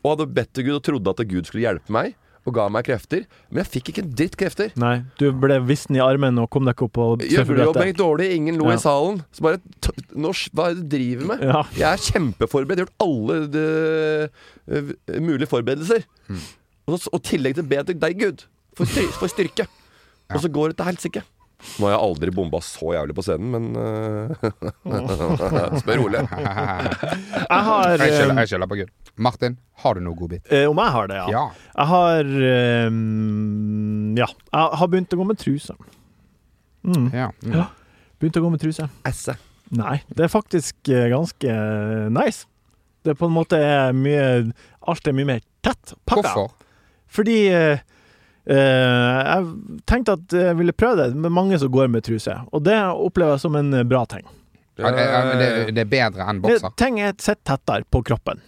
Speaker 3: Og hadde bedt til Gud og trodde at Gud skulle hjelpe meg Og ga meg krefter Men jeg fikk ikke en dritt krefter
Speaker 2: Nei, du ble vissen i armen og kom deg ikke opp på
Speaker 3: Jeg ble jo
Speaker 2: surfebrettet.
Speaker 3: meget dårlig, ingen lo
Speaker 2: Ja.
Speaker 3: i salen Så bare, t- nå, s- hva er det du driver med?
Speaker 2: Ja.
Speaker 3: Jeg er kjempeforberedt, jeg har gjort alle de, eh, mulige forberedelser og, så, og tillegg til å be til deg Gud For, styr, for styrke Og så går det til helsike nå har jeg aldri bomba så jævlig på scenen, men eh, Spør Ole.
Speaker 2: Jeg har
Speaker 5: Jeg skylder-
Speaker 2: eh,
Speaker 5: Jeg skylder på Gud. Martin, har du noe godbit?
Speaker 2: eh, Om jeg har det, ja.
Speaker 5: Ja.
Speaker 2: Jeg har eh, Ja. Jeg har begynt å gå med truse. Mm.
Speaker 5: ja. Mm.
Speaker 2: Ja. Begynt å gå med truse.
Speaker 3: Esse.
Speaker 2: Nei, det er faktisk eh, ganske nice. Det er på en måte er mye Alt er mye mer tett pakka.
Speaker 5: Hvorfor?
Speaker 2: Fordi eh, eh, jeg tenkte at jeg ville prøve det med mange som går med truse, og det opplever jeg som en eh, bra ting.
Speaker 5: Ja, det, ja, men det, det er bedre enn bokser.
Speaker 2: Eh, Ting er sett tettere på kroppen.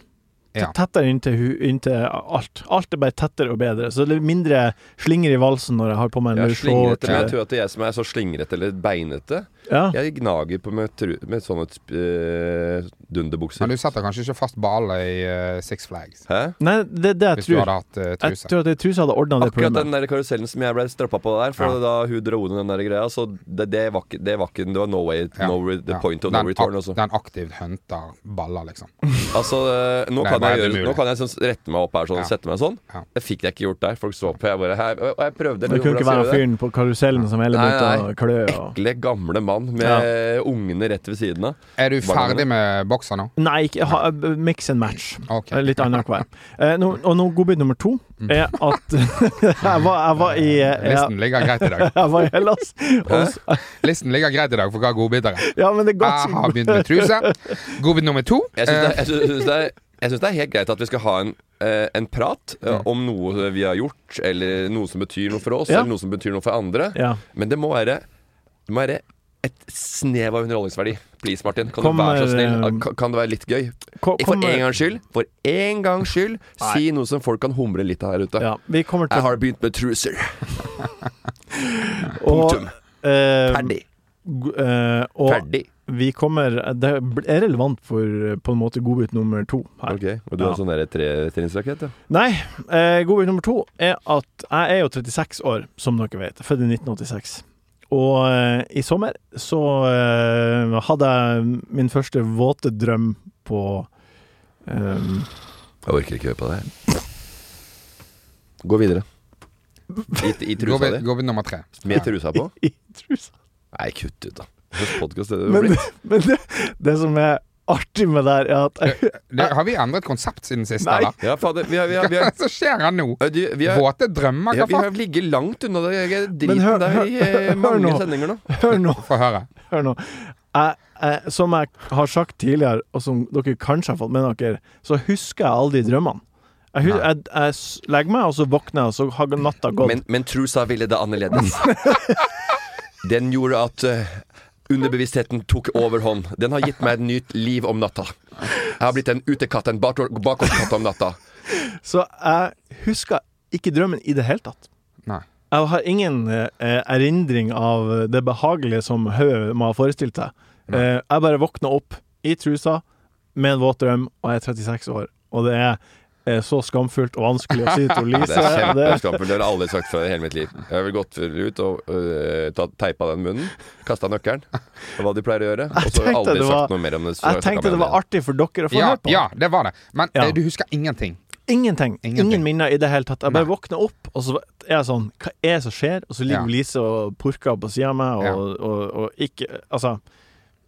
Speaker 5: Ja.
Speaker 2: Tettere inntil, hu- inntil alt. Alt er bare tettere og bedre. Så det er mindre slinger i valsen når jeg har på meg en
Speaker 3: Jeg er
Speaker 2: løs
Speaker 3: slingrete, men jeg
Speaker 2: shorts.
Speaker 3: tror at jeg som er så slingrete eller beinete
Speaker 2: Ja.
Speaker 3: Jeg gnager på med, tru, med sånne eh, dunderbukser.
Speaker 5: Men du setter kanskje ikke fast balle i eh, Six Flags
Speaker 3: Hæ?
Speaker 2: Nei, det er det jeg
Speaker 5: hvis du
Speaker 2: tror.
Speaker 5: hadde hatt eh,
Speaker 2: Jeg
Speaker 5: truse.
Speaker 2: tror at ei truse hadde ordna det
Speaker 3: Akkurat
Speaker 2: problemet.
Speaker 3: den der karusellen som jeg ble strappa på der, for
Speaker 5: Ja.
Speaker 3: da hun dro ned den der greia, så det, det var ikke det var, ikke, det var no way,
Speaker 5: Ja.
Speaker 3: no re, the
Speaker 5: Ja.
Speaker 3: point of no
Speaker 5: Den
Speaker 3: return. altså.
Speaker 5: ak-
Speaker 3: Også.
Speaker 5: Den aktivt hunter baller, liksom.
Speaker 3: Altså, eh, nå,
Speaker 5: Nei,
Speaker 3: kan jeg
Speaker 5: nei, det er
Speaker 3: gjøre, nå
Speaker 5: mulig.
Speaker 3: kan jeg sånn, rette meg opp her sånn,
Speaker 5: Ja.
Speaker 3: sette meg sånn.
Speaker 5: Ja.
Speaker 3: Det fikk jeg ikke gjort der. Folk så på. Jeg bare her, Og jeg prøvde.
Speaker 2: Det kunne ikke være
Speaker 3: fyren
Speaker 2: fyren på karusellen som heller
Speaker 3: Nei,
Speaker 2: begynte å klø. Og...
Speaker 3: Ekle, gamle mann med ungene rett ved siden av.
Speaker 5: Er du
Speaker 3: Baller,
Speaker 5: ferdig med bokser nå?
Speaker 2: Nei, ikke, ha, mix and match.
Speaker 5: Ok. Mm.
Speaker 2: Litt annenhver. Eh, nå- og nå godbit nummer to er at jeg, var, jeg var i eh, jeg,
Speaker 5: Listen ligger greit i dag.
Speaker 2: jeg var i Hellas. Og, s-
Speaker 5: Listen ligger greit i dag for hva godbiter er.
Speaker 2: ja, men det er
Speaker 5: Jeg har
Speaker 2: godt.
Speaker 5: begynt med truse. Godbit nummer to.
Speaker 3: Jeg syns det,
Speaker 5: eh,
Speaker 3: jeg synes- jeg synes det, er- jeg synes det er helt greit at vi skal ha en, eh, en prat eh,
Speaker 5: Mm.
Speaker 3: om noe vi har gjort, eller noe som betyr noe for oss,
Speaker 2: Ja.
Speaker 3: eller noe som betyr noe for andre.
Speaker 2: Ja.
Speaker 3: Men det må være, det må være et snev av underholdningsverdi. Please, Martin. Kan
Speaker 2: Kommer,
Speaker 3: du være så snill?
Speaker 2: eh,
Speaker 3: Kan- Kan det være litt gøy?
Speaker 2: Ko-
Speaker 3: For
Speaker 2: kommer-
Speaker 3: en gangs skyld. For en gangs skyld.
Speaker 2: Nei.
Speaker 3: Si noe som folk kan humre litt av her ute.
Speaker 2: Ja, vi kommer
Speaker 3: Jeg
Speaker 2: til
Speaker 3: har begynt med truser.
Speaker 2: og,
Speaker 3: Punktum.
Speaker 2: eh,
Speaker 3: Ferdig.
Speaker 2: g- eh, og
Speaker 3: Ferdig.
Speaker 2: vi kommer Det er relevant for eh, på en måte godbit nummer to her.
Speaker 3: Ok, Og du har
Speaker 2: Ja.
Speaker 3: sånn der tretrinnsrakett, ja?
Speaker 2: Nei, eh, godbit nummer to er at jeg er jo 36 år, som dere vet. Født i 1986. Og eh, i sommer så eh, hadde jeg min første våte drøm på eh,
Speaker 3: Jeg orker ikke høre på det her. Gå videre. I, i
Speaker 5: Gå
Speaker 3: trusa
Speaker 5: ved,
Speaker 3: di?
Speaker 5: gå ved nummer tre.
Speaker 3: Med trusa på?
Speaker 2: I trusa.
Speaker 3: Nei, kutt ut, da. Hvilken podcast er det
Speaker 2: Men,
Speaker 3: blitt?
Speaker 2: men det, det som er artig med det her, er at jeg,
Speaker 5: Det, har vi endret konsept siden sist,
Speaker 2: Nei.
Speaker 5: eller?
Speaker 3: Ja, fader. Vi har, vi har, vi
Speaker 5: Hva
Speaker 3: har,
Speaker 5: er det som skjer her nå?
Speaker 3: Ø, du, vi har,
Speaker 5: Våte drømmer,
Speaker 3: ja,
Speaker 5: hva
Speaker 3: vi har
Speaker 5: faen?
Speaker 3: ligget langt unna det driten
Speaker 2: Men hør-
Speaker 3: der i eh,
Speaker 2: hør
Speaker 3: mange
Speaker 2: nå.
Speaker 3: sendinger nå.
Speaker 2: Hør nå.
Speaker 5: Få høre.
Speaker 2: Hør nå. Jeg, jeg, som jeg har sagt tidligere, og som dere kanskje har fått med dere, så husker jeg alle de drømmene. Jeg, hus- jeg, jeg s- legger meg, og så våkner jeg, og så har natta gått.
Speaker 3: Men, men trusa ville det annerledes. Den gjorde at eh, underbevisstheten tok overhånd. Den har gitt meg et nytt liv om natta. Jeg har blitt en utekatt, en bakgård- bakgårdskatt om natta.
Speaker 2: Så jeg husker ikke drømmen i det hele tatt.
Speaker 5: Nei.
Speaker 2: Jeg har ingen eh, erindring av det behagelige som hodet må ha forestilt seg. Eh, jeg bare våkna opp i trusa med en våt drøm, og jeg er 36 år. Og det er eh, så skamfullt og vanskelig å si til
Speaker 3: Det
Speaker 2: Lise.
Speaker 3: er
Speaker 2: og det-
Speaker 3: kjempeskamfullt. Det har jeg aldri sagt før i hele mitt liv. Jeg har vel gått ut og øh, tatt- teipa den munnen, kasta nøkkelen, og hva de pleier å gjøre. Og så
Speaker 2: Jeg
Speaker 3: har jeg
Speaker 2: tenkte
Speaker 3: aldri
Speaker 2: det var-
Speaker 3: sagt noe mer om det. så
Speaker 2: Jeg tenkte det var artig for dere å få
Speaker 5: Ja,
Speaker 2: høre på.
Speaker 5: ja, det var det. Men
Speaker 2: Ja.
Speaker 5: eh, du husker ingenting.
Speaker 2: Ingenting.
Speaker 5: Ingenting.
Speaker 2: Ingen minner i det hele tatt. Jeg bare
Speaker 5: Nei.
Speaker 2: våkner opp, og så er jeg sånn Hva er det som skjer? Og så ligger
Speaker 5: Ja.
Speaker 2: Lise og purker på sida av meg, og,
Speaker 5: Ja.
Speaker 2: og, og, ikke Altså,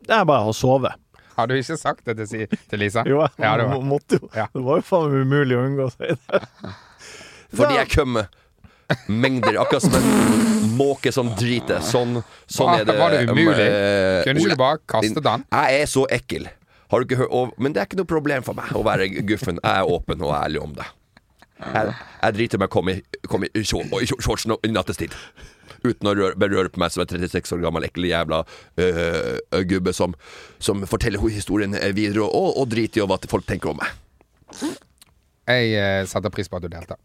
Speaker 2: det er bare å sove.
Speaker 5: Har du ikke sagt det til, si, til Lisa?
Speaker 2: Jo, jeg
Speaker 5: Ja, det var.
Speaker 2: må- måtte jo
Speaker 5: Ja.
Speaker 2: Det var jo faen meg umulig å unngå å si det.
Speaker 3: Fordi jeg kømmer. Mengder. Akkurat som en måke som driter. Sånn, sånn
Speaker 5: Var-
Speaker 3: er det.
Speaker 5: Ah, var det umulig?
Speaker 3: eh,
Speaker 5: Kunne ikke
Speaker 3: Ole.
Speaker 5: du bare kaste den?
Speaker 3: Jeg er så ekkel. Har du ikke hørt og, Men det er ikke noe problem for meg å være guffen. Jeg er åpen og ærlig om det. Jeg, jeg driter meg å komme i, komme i, shor- i shor- shortsen i nattestid. Uten å røre, berøre på meg som en 36 år gammel ekkel jævla øh, øh, gubbe som, som forteller historien videre, og, og driter i hva folk tenker om meg.
Speaker 5: Jeg eh, setter pris på at du delte.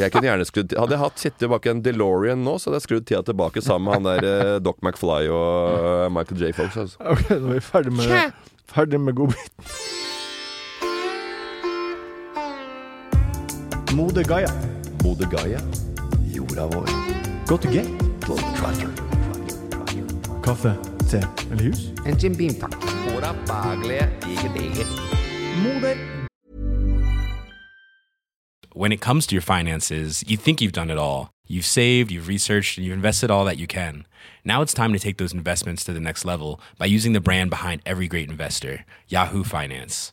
Speaker 3: Jeg kunne gjerne skrudd Hadde jeg hatt sittet bak en DeLorean nå, så hadde jeg skrudd tida tilbake sammen med han der eh, Doc McFly og eh, Michael J. Fox. Altså.
Speaker 2: Ok, nå er vi ferdig med, ferdig med godbiten. Mode Gaia.
Speaker 3: Mode Gaia, jorda vår.
Speaker 2: Go to gate.
Speaker 3: Globe Trotter.
Speaker 2: Kaffe, te eller hus?
Speaker 5: En Jim Beam, takk.
Speaker 3: Håra bagle, ikke det.
Speaker 2: Moder.
Speaker 7: when it comes to your finances, you think you've done it all. You've saved, you've researched, and you've invested all that you can. Now it's time to take those investments to the next level by using the brand behind every great investor, Yahoo Finance.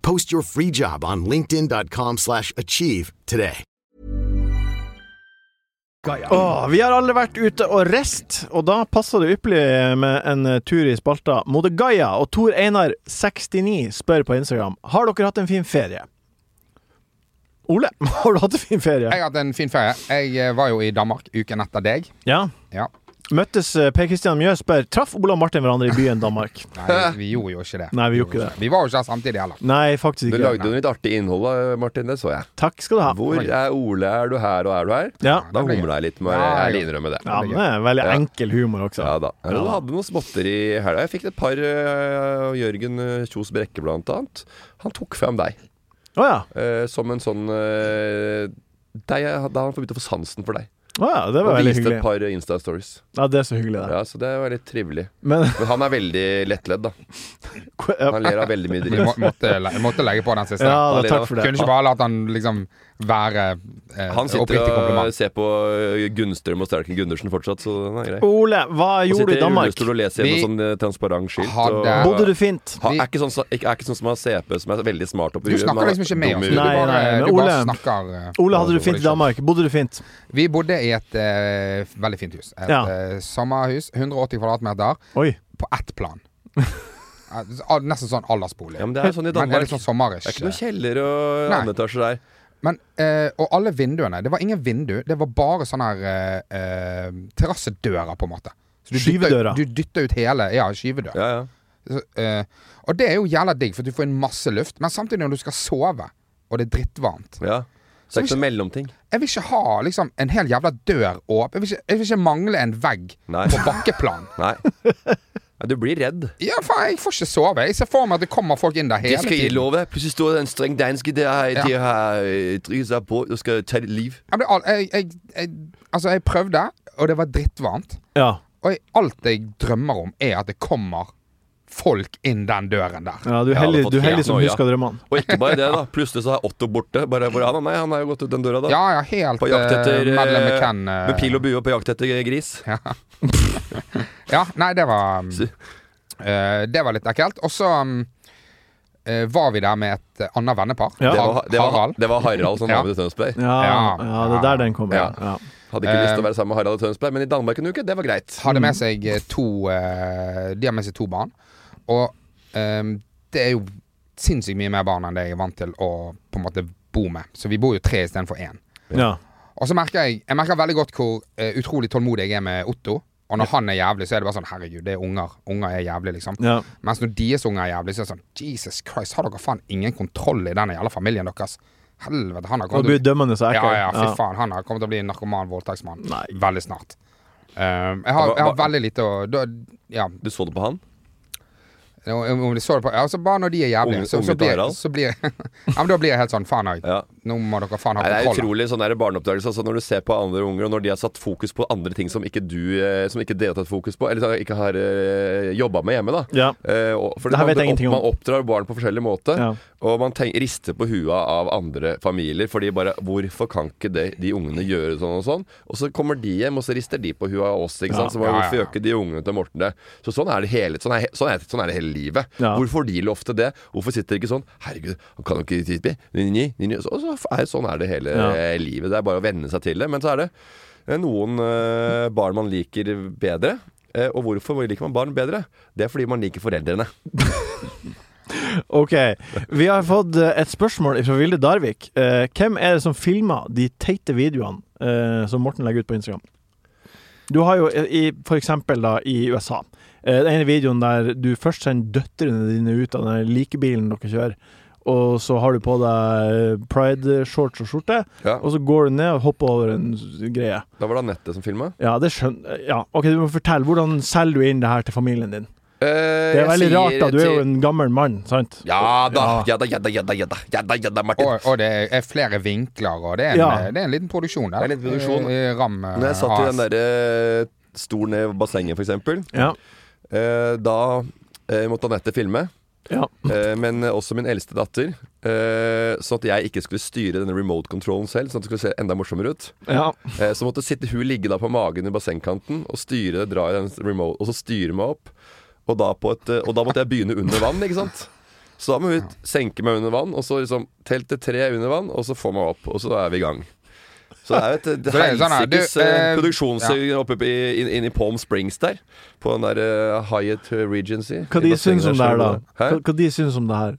Speaker 8: Post your free job on linkedin.com/achieve slash achieve today.
Speaker 2: Åh, vi har alle vært ute og rest, og da passer det ypperlig med en eh, tur i spalta Mode Gaia. Og Tor Einar 69 spør på Instagram Har dere hatt en fin ferie. Ole, har du hatt en fin ferie?
Speaker 5: Jeg har hatt en fin ferie. Jeg eh, var jo i Danmark uken etter deg.
Speaker 2: Ja.
Speaker 5: Ja.
Speaker 2: Møttes eh, Per Christian Mjøs spør Traff Ole og Martin hverandre i byen Danmark?
Speaker 5: Nei, vi gjorde jo ikke det.
Speaker 2: Nei, vi gjorde ikke det.
Speaker 5: Vi var jo ikke der samtidig heller.
Speaker 2: Nei, faktisk
Speaker 3: Du
Speaker 2: ikke.
Speaker 3: lagde noe litt artig innhold, da, Martin. Det så jeg.
Speaker 2: Takk skal du ha.
Speaker 3: Hvor er Ole? Er du her, og er du her?
Speaker 2: Ja.
Speaker 3: Da
Speaker 5: ble gøy.
Speaker 3: humla jeg litt med
Speaker 5: Ja,
Speaker 3: Jeg
Speaker 5: ja.
Speaker 3: innrømmer det.
Speaker 2: ja, men det er veldig
Speaker 3: Ja.
Speaker 2: enkel humor også.
Speaker 3: Ja da. Jeg hadde noen småtter i helga. Jeg fikk et par. eh, Jørgen eh, Kjos Brekke, blant annet. Han tok frem deg
Speaker 2: Å ja.
Speaker 3: eh, som en sånn eh, deg, Da han får begynte å få sansen for deg.
Speaker 2: Å ja. Det var
Speaker 3: Han
Speaker 2: veldig
Speaker 3: viste
Speaker 2: hyggelig.
Speaker 3: et par Insta-stories.
Speaker 2: Ja, det er så hyggelig, det.
Speaker 3: Ja, så det var litt trivelig.
Speaker 2: Men
Speaker 3: Men han er veldig lettledd, da. Han ler av veldig mye
Speaker 5: Vi må,
Speaker 3: dritt.
Speaker 5: måtte, le- måtte legge på den siste.
Speaker 2: Ja, da, takk for det.
Speaker 5: Kunne ikke bare latt han liksom være eh,
Speaker 3: Han
Speaker 5: oppriktig
Speaker 3: sitter og
Speaker 5: kompliment.
Speaker 3: ser på eh, Gunnstrøm og Sterken Gundersen fortsatt, så den er grei.
Speaker 2: Ole, hva
Speaker 3: Han
Speaker 2: gjorde du
Speaker 3: sitter
Speaker 2: i Danmark?
Speaker 3: rullestol og leser
Speaker 5: Vi
Speaker 3: gjennom sånn eh, transparent skilt.
Speaker 5: hadde-
Speaker 3: og-
Speaker 2: Bodde du fint?
Speaker 3: Ha, er, ikke sånn, som- ikke- er ikke sånn som har CP, som er veldig smart oppi
Speaker 5: Du snakker liksom ikke med oss. Du
Speaker 2: Nei,
Speaker 5: bare,
Speaker 2: nei, men
Speaker 5: du bare
Speaker 2: Ole-
Speaker 5: snakker eh,
Speaker 2: Ole, hadde
Speaker 5: over
Speaker 2: du fint i
Speaker 5: deg selv.
Speaker 2: Danmark? Bodde du fint?
Speaker 5: Vi bodde i et eh, veldig fint hus. Et
Speaker 2: Ja.
Speaker 5: eh, sommerhus. 180 kvadratmeter
Speaker 2: Oi.
Speaker 5: på ett plan. eh, Nesten sånn aldersbolig.
Speaker 3: Ja, men det er sånn i Danmark.
Speaker 5: Men er litt sånn sommerish.
Speaker 3: Det er ikke noe kjeller og
Speaker 5: Nei.
Speaker 3: andetasjer der.
Speaker 5: Men, eh, og alle vinduene Det var ingen vindu, det var bare sånne her eh, eh, terrassedører, på en måte. Så du dytter-
Speaker 2: Skyvedører.
Speaker 5: Du dytter ut hele Ja, skyvedør.
Speaker 3: Ja, ja.
Speaker 5: Så, eh, og det er jo jævla digg, for du får inn masse luft. Men samtidig, når du skal sove, og det er drittvarmt
Speaker 3: ja. Så det er ikke noe mellomting.
Speaker 5: Jeg vil ikke ha liksom en hel jævla dør åpen. Jeg vil ikke, jeg vil ikke mangle en vegg
Speaker 3: Nei.
Speaker 5: på bakkeplan.
Speaker 3: Nei. Ja, du blir redd.
Speaker 5: Ja, faen, jeg får ikke sove. Jeg ser for meg at det kommer folk inn der
Speaker 3: Det
Speaker 5: hele
Speaker 3: skal jeg
Speaker 5: tiden.
Speaker 3: love. Plutselig står det en streng danske der.
Speaker 5: Ja.
Speaker 3: De har eh, drukket seg på og skal ta ditt liv.
Speaker 5: Jeg, ble, al- jeg, jeg, jeg, altså, jeg prøvde, og det var drittvarmt.
Speaker 2: Ja.
Speaker 5: Og jeg, alt jeg drømmer om, er at det kommer folk inn den døren der.
Speaker 2: ja du er
Speaker 3: Jeg hadde
Speaker 2: heldig,
Speaker 3: fått
Speaker 2: du er heldig
Speaker 3: helt
Speaker 2: som
Speaker 3: noia.
Speaker 2: husker drømmene.
Speaker 3: Og ikke bare det, da. Plutselig så er Otto borte. Bare hvor er han? Nei, han har jo gått ut den døra, da.
Speaker 5: Ja, ja, helt
Speaker 3: På jakt etter
Speaker 5: eh,
Speaker 3: eh,
Speaker 5: Madeleine McCann. eh,
Speaker 3: Med pil og bue på jakt etter gris.
Speaker 5: Ja. ja, nei, det var um,
Speaker 3: Så-
Speaker 5: eh, Det var litt ekkelt. Og så um, eh, var vi der med et eh, annet vennepar.
Speaker 2: Ja.
Speaker 3: Det,
Speaker 5: Har-
Speaker 3: var, det, var,
Speaker 5: Harald.
Speaker 3: det var Harald som
Speaker 5: Ja.
Speaker 3: var med til Tønsberg.
Speaker 2: Ja,
Speaker 5: Ja.
Speaker 2: ja, det er der den kommer.
Speaker 3: Ja.
Speaker 2: Ja.
Speaker 3: Hadde ikke lyst til
Speaker 5: Eh,
Speaker 3: å være sammen med Harald i Tønsberg, men i Danmark en uke, det var greit.
Speaker 5: Hadde med seg eh, to eh, De har med seg to barn. Og ehm, det er jo sinnssykt mye mer barn enn det jeg er vant til å på en måte bo med. Så vi bor jo tre istedenfor én.
Speaker 2: Ja.
Speaker 5: Og så merker jeg Jeg merker veldig godt hvor eh, utrolig tålmodig jeg er med Otto. Og når han er jævlig, så er det bare sånn Herregud, det er unger. Unger er jævlig, liksom.
Speaker 2: ja.
Speaker 5: Mens når deres unger er jævlig, så er det sånn Jesus Christ, har dere faen ingen kontroll i den jævla familien deres? Helvete, han har
Speaker 2: Og
Speaker 5: kommet
Speaker 2: blir dømmende så
Speaker 5: ja,
Speaker 2: ekkel.
Speaker 5: ja, fy faen. Han har kommet til å bli en narkoman voldtektsmann
Speaker 2: Nei.
Speaker 5: veldig snart. Um, jeg, har, jeg
Speaker 3: Hva-
Speaker 5: har
Speaker 3: hva-
Speaker 5: veldig lite å da, Ja.
Speaker 3: Du så det på han?
Speaker 5: Om om de så det på Altså, bare når de er jævlige,
Speaker 3: Unge-
Speaker 5: så, så
Speaker 3: unge
Speaker 5: blir,
Speaker 3: Harald?
Speaker 5: så blir Ja, men da blir jeg helt sånn Faen, jeg-
Speaker 3: Ja.
Speaker 5: nå må dere faen ha
Speaker 3: Nei, det er
Speaker 5: kontroll.
Speaker 3: utrolig sånn der barneoppdragelse. Altså når du ser på andre unger, og når de har satt fokus på andre ting som ikke du eh, Som ikke dere har tatt fokus på, eller som ikke har eh, jobba med hjemme, da.
Speaker 2: Ja.
Speaker 3: Eh, og, for
Speaker 2: Det her
Speaker 3: man,
Speaker 2: vet jeg ingenting om.
Speaker 3: man oppdrar barn på forskjellig måte,
Speaker 2: Ja.
Speaker 3: og man tenk, rister på hua av andre familier. Fordi bare Hvorfor kan ikke de, de ungene gjøre sånn og sånn? Og så kommer de hjem, og så rister de på hua av oss. Ikke sant? Så bare,
Speaker 5: Ja, ja,
Speaker 3: Hvorfor
Speaker 5: ja.
Speaker 3: gjør ikke de ungene til Morten det? Så sånn er det hele, sånn er, he- sånn er, sånn er det hele livet.
Speaker 2: Ja.
Speaker 3: Hvorfor får de lov til det? Hvorfor sitter de ikke sånn? Herregud, han kan jo ikke tidsby. Ni, ni, ni, ni. Så, så er, sånn er det hele
Speaker 2: Ja.
Speaker 3: eh, livet. Det er bare å venne seg til det. Men så er det eh, noen eh, barn man liker bedre. Eh, og hvorfor liker man barn bedre? Det er fordi man liker foreldrene.
Speaker 2: Ok, vi har fått eh, et spørsmål fra Vilde Darvik. Eh, hvem er det som filmer de teite videoene eh, som Morten legger ut på Instagram? Du har jo eh, i, for eksempel da, i USA eh, den ene videoen der du først sender døtrene dine ut av den likebilen dere kjører, og så har du på deg eh, pride-shorts og skjorte,
Speaker 3: Ja.
Speaker 2: og så går du ned og hopper over en s- greie.
Speaker 3: Da var det Anette som filma.
Speaker 2: Ja, det skjønner Ja, OK, du må fortelle. Hvordan selger du inn det her til familien din?
Speaker 3: Eh,
Speaker 2: Det er veldig rart, da. Du er jo en gammel mann, sant?
Speaker 3: Ja da,
Speaker 2: Ja.
Speaker 3: ja da, ja da, ja da, ja da, ja da, ja da Martin.
Speaker 5: Og, og det er flere vinkler, og det er en,
Speaker 2: Ja.
Speaker 5: det er en liten produksjon der.
Speaker 3: Det er en liten produksjon.
Speaker 5: Eh, Ram eh,
Speaker 3: Når jeg satt i
Speaker 5: AS.
Speaker 3: den derre stolen ned i bassenget, for eksempel,
Speaker 2: Ja.
Speaker 3: eh, da eh, måtte Anette filme.
Speaker 2: ja.
Speaker 3: Eh, men også min eldste datter. Eh, sånn at jeg ikke skulle styre denne remote controlen selv, sånn at det skulle se enda morsommere ut.
Speaker 2: ja.
Speaker 3: Eh, så måtte sitte hun ligge da på magen i bassengkanten og styre det, dra i den remote, og så styre meg opp. Og da, på et, eh, og da måtte jeg begynne under vann, ikke sant. Så da må hun senke meg under vann, og så liksom telt til tre under vann, og så få meg opp. Og så er vi i gang. Så det er jo et det
Speaker 5: Så det er sånn her, du,
Speaker 3: helsikes eh,
Speaker 5: eh,
Speaker 3: produksjonshus oppe i, inn, inn i Palm Springs der. På den der eh, Hyatt Regency.
Speaker 2: Hva
Speaker 3: i
Speaker 2: de
Speaker 3: bassenget
Speaker 2: syns om
Speaker 3: der,
Speaker 2: det her, da?
Speaker 3: Hæ?
Speaker 2: Hva, hva de syns om det her?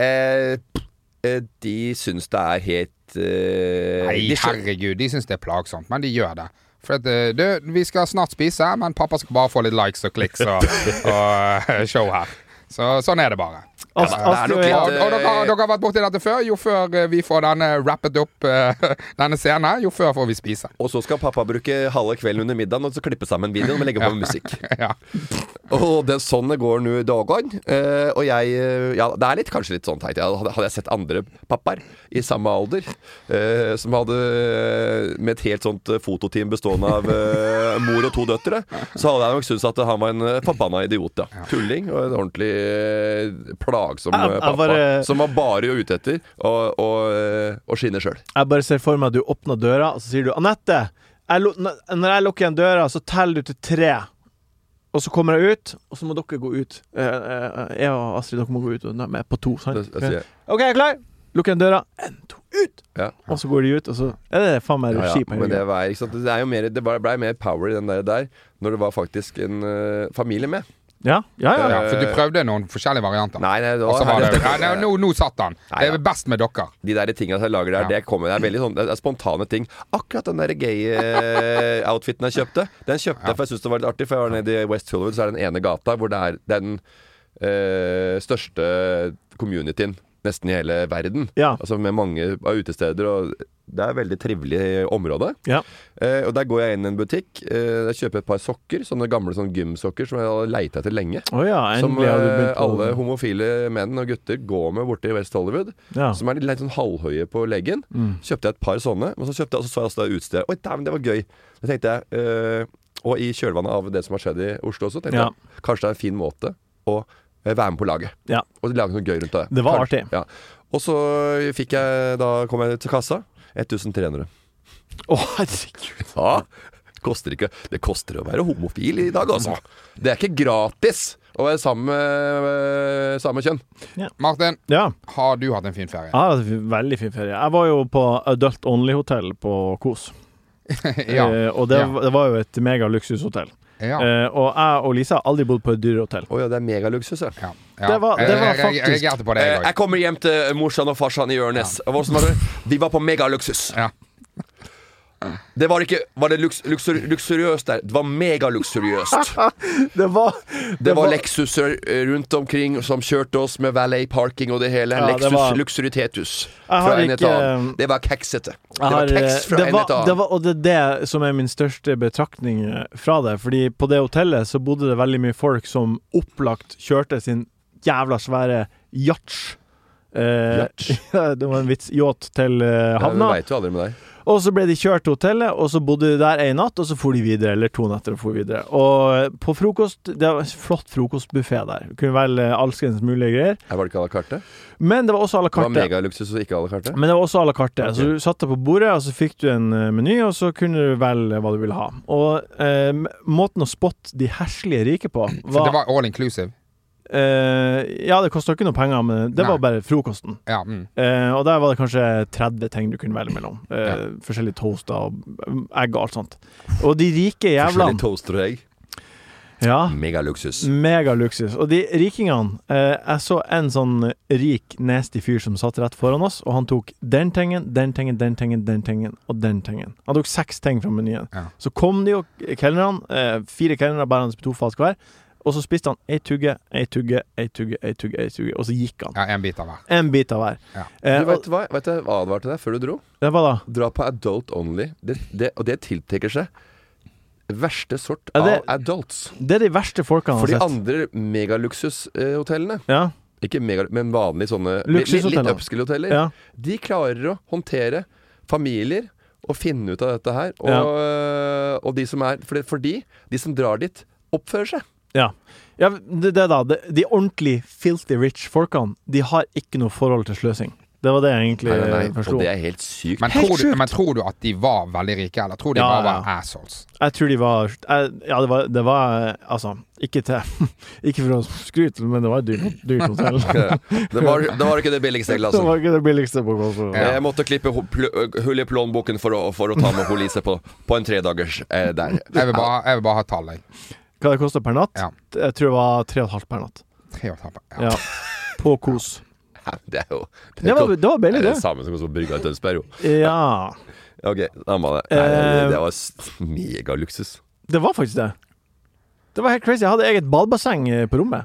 Speaker 3: Eh, eh, de syns det er helt eh,
Speaker 5: Nei,
Speaker 3: de skjø-
Speaker 5: herregud, de syns det er plagsomt, men de gjør det. For at, eh, du, vi skal snart spise, men pappa skal bare få litt likes og kliks og, og eh, show her. Så, sånn er det bare.
Speaker 2: Ast-
Speaker 3: men det er
Speaker 2: Astrid
Speaker 3: nok
Speaker 2: og
Speaker 5: Og,
Speaker 2: jeg-
Speaker 5: og dere, har- dere har vært borti dette før. Jo før eh, vi får denne wrappet opp, eh, denne scenen, her, jo før får vi spise.
Speaker 3: Og så skal pappa bruke halve kvelden under middagen og så klippe sammen videoen og legge på musikk.
Speaker 5: Ja.
Speaker 3: Og det, sånn det går nå i dagene. Eh, og jeg eh, Ja, det er litt, kanskje litt sånn teit. Ja, Hadde hadde jeg sett andre pappaer i samme alder eh, som hadde eh, med et helt sånt eh, fototeam bestående av eh, mor og to døtre, så hadde jeg nok syntes at han var en eh, forbanna idiot, ja. Tulling og en ordentlig eh, plagsom
Speaker 2: Jeg-
Speaker 3: eh,
Speaker 2: jeg
Speaker 3: pappa.
Speaker 2: bare-
Speaker 3: Som var bare ute etter å, å, eh, å skinne sjøl.
Speaker 2: Jeg bare ser for meg at du åpner døra, og så sier du 'Anette, jeg lu- n- når jeg lukker igjen døra, så teller du til tre.' Og så kommer jeg ut, og så må dere gå ut. Eh, eh, Jeg og Astrid, dere må gå ut og- nei, men på to. Sant?
Speaker 3: Det- det sier jeg.
Speaker 2: OK, jeg er klar. Lukker igjen døra. En, to, ut!
Speaker 3: Ja.
Speaker 2: Og så går de ut, og så er det faen meg
Speaker 3: Ja,
Speaker 2: regi på
Speaker 3: ja, men
Speaker 2: hele
Speaker 3: det,
Speaker 2: greia.
Speaker 3: var, ikke sant? det, er jo mer, det bare blei mer power i den der, der når det var faktisk en eh, familie med.
Speaker 2: Ja, ja, ja.
Speaker 5: Ja, for du prøvde noen forskjellige varianter.
Speaker 3: Eh, Nei, nei, det var-
Speaker 5: Og så var
Speaker 3: her-
Speaker 5: det, nei, nei, nå, nå satt han.
Speaker 3: Nei,
Speaker 5: Det
Speaker 3: ja.
Speaker 5: er best med dere.
Speaker 3: De der tingene som jeg lager der, det, kommer, det er veldig sånn Det er spontane ting. Akkurat den der gay-outfiten jeg kjøpte, den kjøpte jeg for jeg syntes det var litt artig. For jeg var nede i West Hollywood, så er det den ene gata hvor det er den eh, største communityen nesten i hele verden.
Speaker 2: Ja.
Speaker 3: Altså med mange av utesteder og Det er et veldig trivelig område.
Speaker 2: Ja.
Speaker 3: Eh, og der går jeg inn i en butikk, eh, jeg kjøper et par sokker, sånne gamle sånn gymsokker som jeg hadde leita etter lenge.
Speaker 2: Å ja,
Speaker 3: Som
Speaker 2: endelig har du
Speaker 3: eh,
Speaker 2: begynt å
Speaker 3: alle homofile menn og gutter går med borte i West Hollywood.
Speaker 2: Ja. Mm.
Speaker 3: Som er litt, litt sånn halvhøye på leggen. Kjøpte jeg et par sånne, og så, kjøpte jeg, og så så jeg også det utstedet. Oi, dæven, det var gøy! Det tenkte jeg. eh, og i kjølvannet av det som har skjedd i Oslo også, tenkte
Speaker 2: Ja.
Speaker 3: jeg kanskje det er en fin måte å eh, være med på laget.
Speaker 2: Ja.
Speaker 3: Og lage noe gøy rundt det.
Speaker 2: Det var artig.
Speaker 3: Ja. Og så fikk jeg Da kom jeg til kassa. 1300.
Speaker 2: Å, herregud.
Speaker 3: Ja, koster ikke Det koster å være homofil i dag, altså. Det er ikke gratis å være sammen med eh, samme kjønn.
Speaker 5: Martin,
Speaker 2: Ja.
Speaker 5: har du hatt en fin ferie?
Speaker 2: Jeg har hatt en veldig fin ferie. Jeg var jo på Adult Only-hotell på Kos.
Speaker 5: ja.
Speaker 2: Eh, og det,
Speaker 5: Ja.
Speaker 2: var- det var jo et megaluksushotell.
Speaker 5: ja.
Speaker 2: Eh, og jeg og Lisa har aldri bodd på et dyrehotell.
Speaker 3: Å ja, det er megaluksus, ja.
Speaker 5: ja. ja.
Speaker 2: det var- det var
Speaker 5: Jeg- jeg-
Speaker 2: faktisk-
Speaker 5: Jeg reagerte på det,
Speaker 3: Eh,
Speaker 5: jeg
Speaker 3: Jeg
Speaker 5: òg.
Speaker 3: kommer hjem til morsan og farsan i Ørnes. Og hvordan var det? Vi var på megaluksus.
Speaker 5: Ja.
Speaker 3: Det var ikke Var det luks, luksur, luksuriøst der? Det var megaluksuriøst.
Speaker 2: Det var,
Speaker 3: Det var Lexuser eh, rundt omkring som kjørte oss med valet parking og det hele.
Speaker 2: Ja, det
Speaker 3: Lexus
Speaker 2: var-
Speaker 3: luxuritetus.
Speaker 2: Jeg
Speaker 3: Fra
Speaker 2: har
Speaker 3: en
Speaker 2: ikke-
Speaker 3: etan. Det var keksete. Det
Speaker 2: Jeg har, eh,
Speaker 3: var keks fra
Speaker 2: det
Speaker 3: en
Speaker 2: var, det
Speaker 3: etan.
Speaker 2: var, og det er det som er min største betraktning eh, fra det. Fordi på det hotellet så bodde det veldig mye folk som opplagt kjørte sin jævla svære yacht. Eh, det var en vits. Yacht til eh, havna.
Speaker 3: Du veit jo aldri med deg.
Speaker 2: Og så ble de kjørt til hotellet, og så bodde de der en natt, og så for de videre, eller to netter og for videre. Og på frokost Det var en flott frokostbuffé der. Kunne velge alskens mulige greier.
Speaker 3: Her var det ikke à la carte?
Speaker 2: Men det var også à la
Speaker 3: Det var
Speaker 2: carte.
Speaker 3: megaluksus og ikke à la carte?
Speaker 2: Men det var også à la carte. Så du satte på bordet, og så fikk du en eh, meny, og så kunne du velge hva du ville ha. Og eh, måten å spotte de herslige rike på
Speaker 5: For
Speaker 2: var,
Speaker 5: det var all inclusive.
Speaker 2: eh, Ja, det kosta ikke noe penger, men det
Speaker 5: Nei.
Speaker 2: var bare frokosten.
Speaker 5: Ja, mm.
Speaker 2: Eh, og der var det kanskje 30 ting du kunne velge mellom. Eh, Forskjellige toaster og mm, egg og alt sånt. Og de rike
Speaker 3: Forskjellige
Speaker 2: jævlene
Speaker 3: toaster og egg.
Speaker 2: ja,
Speaker 3: Megaluksus.
Speaker 2: Megaluksus. Og de rikingene eh, Jeg så en sånn rik, nasty fyr som satt rett foran oss, og han tok den tingen, den tingen, den tingen, den tingen og den tingen. Han tok seks ting fra menyen.
Speaker 5: Ja.
Speaker 2: Så kom de jo, kelnerne, eh, fire kelnere bærende på to fat hver, og så spiste han ei tugge, ei tugge, ei tugge, ei tugge, ei tugge, og så gikk han.
Speaker 5: ja en bit av hver.
Speaker 2: En bit av hver.
Speaker 5: Ja.
Speaker 2: Eh,
Speaker 3: Du vet
Speaker 2: og,
Speaker 3: hva, vet du, hva jeg advarte deg før du dro?
Speaker 2: det var da
Speaker 3: Dra på adult only. Det, det, og det tiltrekker seg verste sort
Speaker 2: Ja, det-
Speaker 3: av adults.
Speaker 2: Det er de verste folkene
Speaker 3: For de
Speaker 2: jeg har sett.
Speaker 3: andre megaluksushotellene,
Speaker 2: Ja,
Speaker 3: ikke megal, men vanlige sånne li- li- litt
Speaker 2: Luksushoteller.
Speaker 3: upscale hoteller,
Speaker 2: ja.
Speaker 3: de klarer å håndtere familier og finne ut av dette her. Og, og de som er For, for de, de som drar dit, oppfører seg.
Speaker 2: Ja, ja det, det da. Det, de ordentlig filthy rich folkene, de har ikke noe forhold til sløsing. Det var det jeg egentlig
Speaker 3: Nei, nei, nei.
Speaker 2: forsto.
Speaker 3: Og det er helt sykt.
Speaker 5: Men tror, du, men tror du at de var veldig rike, eller tror de
Speaker 2: Ja,
Speaker 5: bare var
Speaker 2: ja.
Speaker 5: assholes?
Speaker 2: Jeg tror de var jeg, Ja, det var, det var eh, Altså, ikke til Ikke for å skryte, men det var et dyrt, dyrt hotell.
Speaker 3: Det var, det var ikke det billigste
Speaker 2: Det
Speaker 3: glasset.
Speaker 2: var ikke det billigste på Kåssvoll.
Speaker 5: Ja.
Speaker 3: Jeg måtte klippe ho- pl- hull i plånboken for å, for å ta med poliset på, på en tredagers eh, der.
Speaker 5: Jeg vil bare, jeg vil bare ha tall, jeg.
Speaker 2: Hva det kosta per natt?
Speaker 5: Ja.
Speaker 2: Jeg tror det var tre og et halvt per natt.
Speaker 5: Tre og et halvt. Ja.
Speaker 2: Ja. På Kos.
Speaker 3: Ja, Det er jo
Speaker 2: Det var, det var
Speaker 3: det
Speaker 2: billig,
Speaker 3: er det
Speaker 2: det.
Speaker 3: samme som å gå på brygga i Tønsberg, jo.
Speaker 2: Ja.
Speaker 3: Ok, samme det. Nei,
Speaker 2: Eh,
Speaker 3: det var s- megaluksus.
Speaker 2: Det var faktisk det. Det var helt crazy. Jeg hadde eget badebasseng eh, på rommet.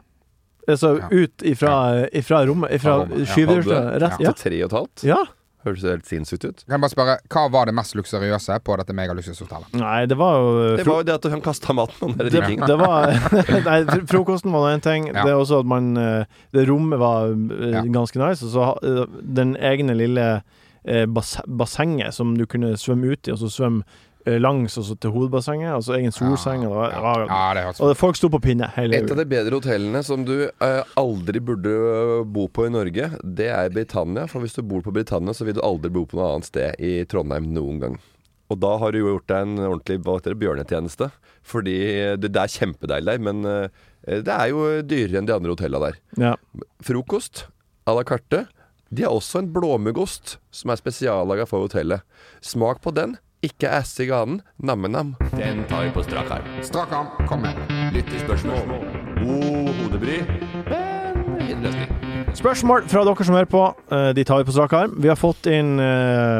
Speaker 2: Altså
Speaker 5: Ja.
Speaker 2: ut ifra, ifra rommet, ifra
Speaker 5: Fra rommet, ja.
Speaker 2: skyvedøra.
Speaker 3: Hadde-
Speaker 2: Rett
Speaker 3: Til
Speaker 2: ja.
Speaker 3: tre og et halvt.
Speaker 2: ja.
Speaker 3: Høres helt sinnssykt ut.
Speaker 5: Kan jeg bare spørre, Hva var det mest luksuriøse på dette megaluksushotellet?
Speaker 2: Nei, det var jo eh,
Speaker 3: Det
Speaker 2: fro
Speaker 3: var jo det at han kasta maten, han der
Speaker 2: det,
Speaker 3: rikingen.
Speaker 2: det var Nei, fr- frokosten var nå én ting.
Speaker 5: Ja.
Speaker 2: Det er også at man eh, Det rommet var eh,
Speaker 5: Ja.
Speaker 2: ganske nice. Og så ha- eh, den egne lille eh, bass bassenget som du kunne svømme ut i, og så svømme eh, langs og så til hovedbassenget. Og så egen solseng. Og det var, det
Speaker 5: Ah, Ja,
Speaker 2: var,
Speaker 5: det hørtes
Speaker 2: og det, folk sto på pinne hele
Speaker 3: Et av de bedre hotellene som du eh, aldri burde eh, bo på i Norge, det er Britannia. For hvis du bor på Britannia, så vil du aldri bo på noe annet sted i Trondheim noen gang. Og da har du jo gjort deg en ordentlig hva heter det, bjørnetjeneste. Fordi det, det er kjempedeilig der, men eh, det er jo dyrere enn de andre hotellene der.
Speaker 2: Ja.
Speaker 3: Frokost à la carte. De har også en blåmuggost som er spesiallaga for hotellet. Smak på den. Ikke assig annen. Namme-nam.
Speaker 5: Strak arm, kom med.
Speaker 3: Lyttespørsmål. God hodebry, men ingen løsning.
Speaker 2: Spørsmål fra dere som hører på. Eh, De tar vi på strak arm. Vi har fått inn eh,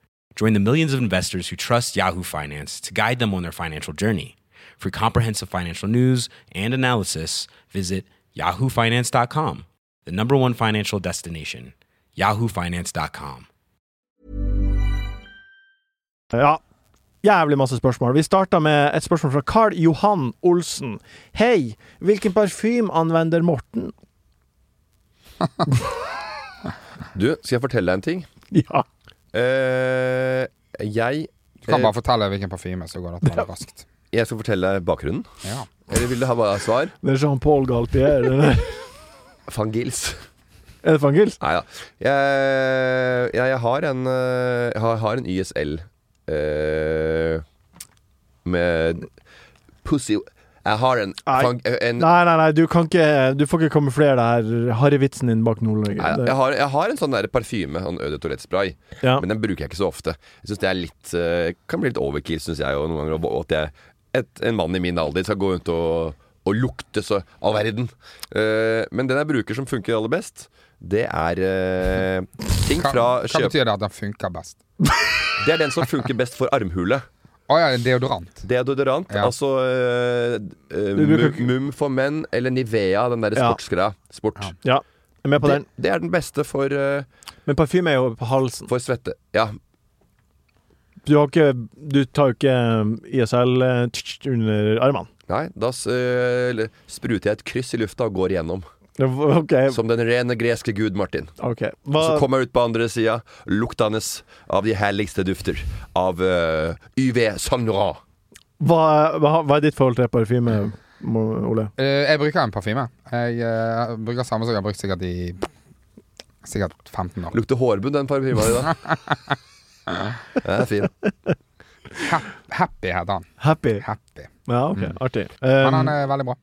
Speaker 7: Join the millions of investors who trust Yahoo Finance to guide them on their financial journey. For comprehensive financial news and analysis, visit yahoofinance.com, the number one financial destination, yahoofinance.com.
Speaker 2: ja, jævlig masse spørsmål. Vi starta med et spørsmål fra Carl Johan Olsen. Hei, hvilken parfyme anvender Morten?
Speaker 3: Du, skal jeg fortelle deg en ting?
Speaker 2: Ja.
Speaker 3: Eh, jeg
Speaker 5: Du kan
Speaker 3: eh,
Speaker 5: bare fortelle hvilken parfyme, så går det an raskt.
Speaker 3: Jeg skal fortelle deg bakgrunnen.
Speaker 5: Ja.
Speaker 3: Eller vil du ha bare svar?
Speaker 2: Det er Jean-Paul Galtier. det der.
Speaker 3: Van Gils.
Speaker 2: Er det Fangils?
Speaker 3: Nei da. Jeg, jeg, jeg har en eh, Jeg har, har en YSL eh, med Pussy Jeg har en,
Speaker 2: Nei.
Speaker 3: fang, eh, en
Speaker 2: Nei, nei, nei, du kan ikke Du får ikke kamuflere det her harryvitsen din bak Nord-Norge.
Speaker 3: Nei,
Speaker 2: Det-
Speaker 3: jeg, har, jeg har en sånn der parfyme, sånn øde toalettspray,
Speaker 2: Ja.
Speaker 3: men den bruker jeg ikke så ofte. Jeg synes det er litt eh, Kan bli litt overkill, syns jeg jo noen ganger. og At jeg, et, en mann i min alder skal gå rundt og, og lukte så av verden. Eh, men den jeg bruker som funker aller best, det er eh, ting
Speaker 5: Hva,
Speaker 3: fra
Speaker 5: hva
Speaker 3: kjøp...
Speaker 5: betyr det at den funker best?
Speaker 3: Det er den som funker best for armhule.
Speaker 5: Å ja, deodorant.
Speaker 3: Deodorant,
Speaker 5: Ja.
Speaker 3: altså eh, eh,
Speaker 2: Du bruker
Speaker 3: mum,
Speaker 2: ikke-
Speaker 3: mum for menn eller Nivea, den derre
Speaker 2: Ja.
Speaker 3: sportsgreia. Sport.
Speaker 2: Ja, jeg er med på
Speaker 3: Det,
Speaker 2: den.
Speaker 3: det er den beste for, eh,
Speaker 2: Men parfyme er jo på halsen.
Speaker 3: for svette. Ja,
Speaker 2: Du, har ikke, du tar jo ikke ISL eh, tsk, under armene.
Speaker 3: Nei, da s- eller spruter jeg et kryss i lufta og går igjennom.
Speaker 2: Det var- OK.
Speaker 3: Som den rene greske gud Martin.
Speaker 2: ok.
Speaker 3: Så
Speaker 2: Hva,
Speaker 3: kommer jeg ut på andre sida, luktende av de herligste dufter. Av eh, YV Saint Laurent.
Speaker 2: hva, hva, hva er ditt forhold til parfyme, Mo- Ole?
Speaker 5: Eh, jeg bruker en parfyme. Jeg eh, bruker samme som jeg har brukt sikkert i Sikkert 15 år.
Speaker 3: Lukter hårbunn, den parfyma di, da. Den er fin.
Speaker 5: Happy heter han.
Speaker 2: Happy.
Speaker 5: Happy. Mm.
Speaker 2: Ja, OK. Artig.
Speaker 5: Men han
Speaker 2: Um,
Speaker 5: er veldig bra.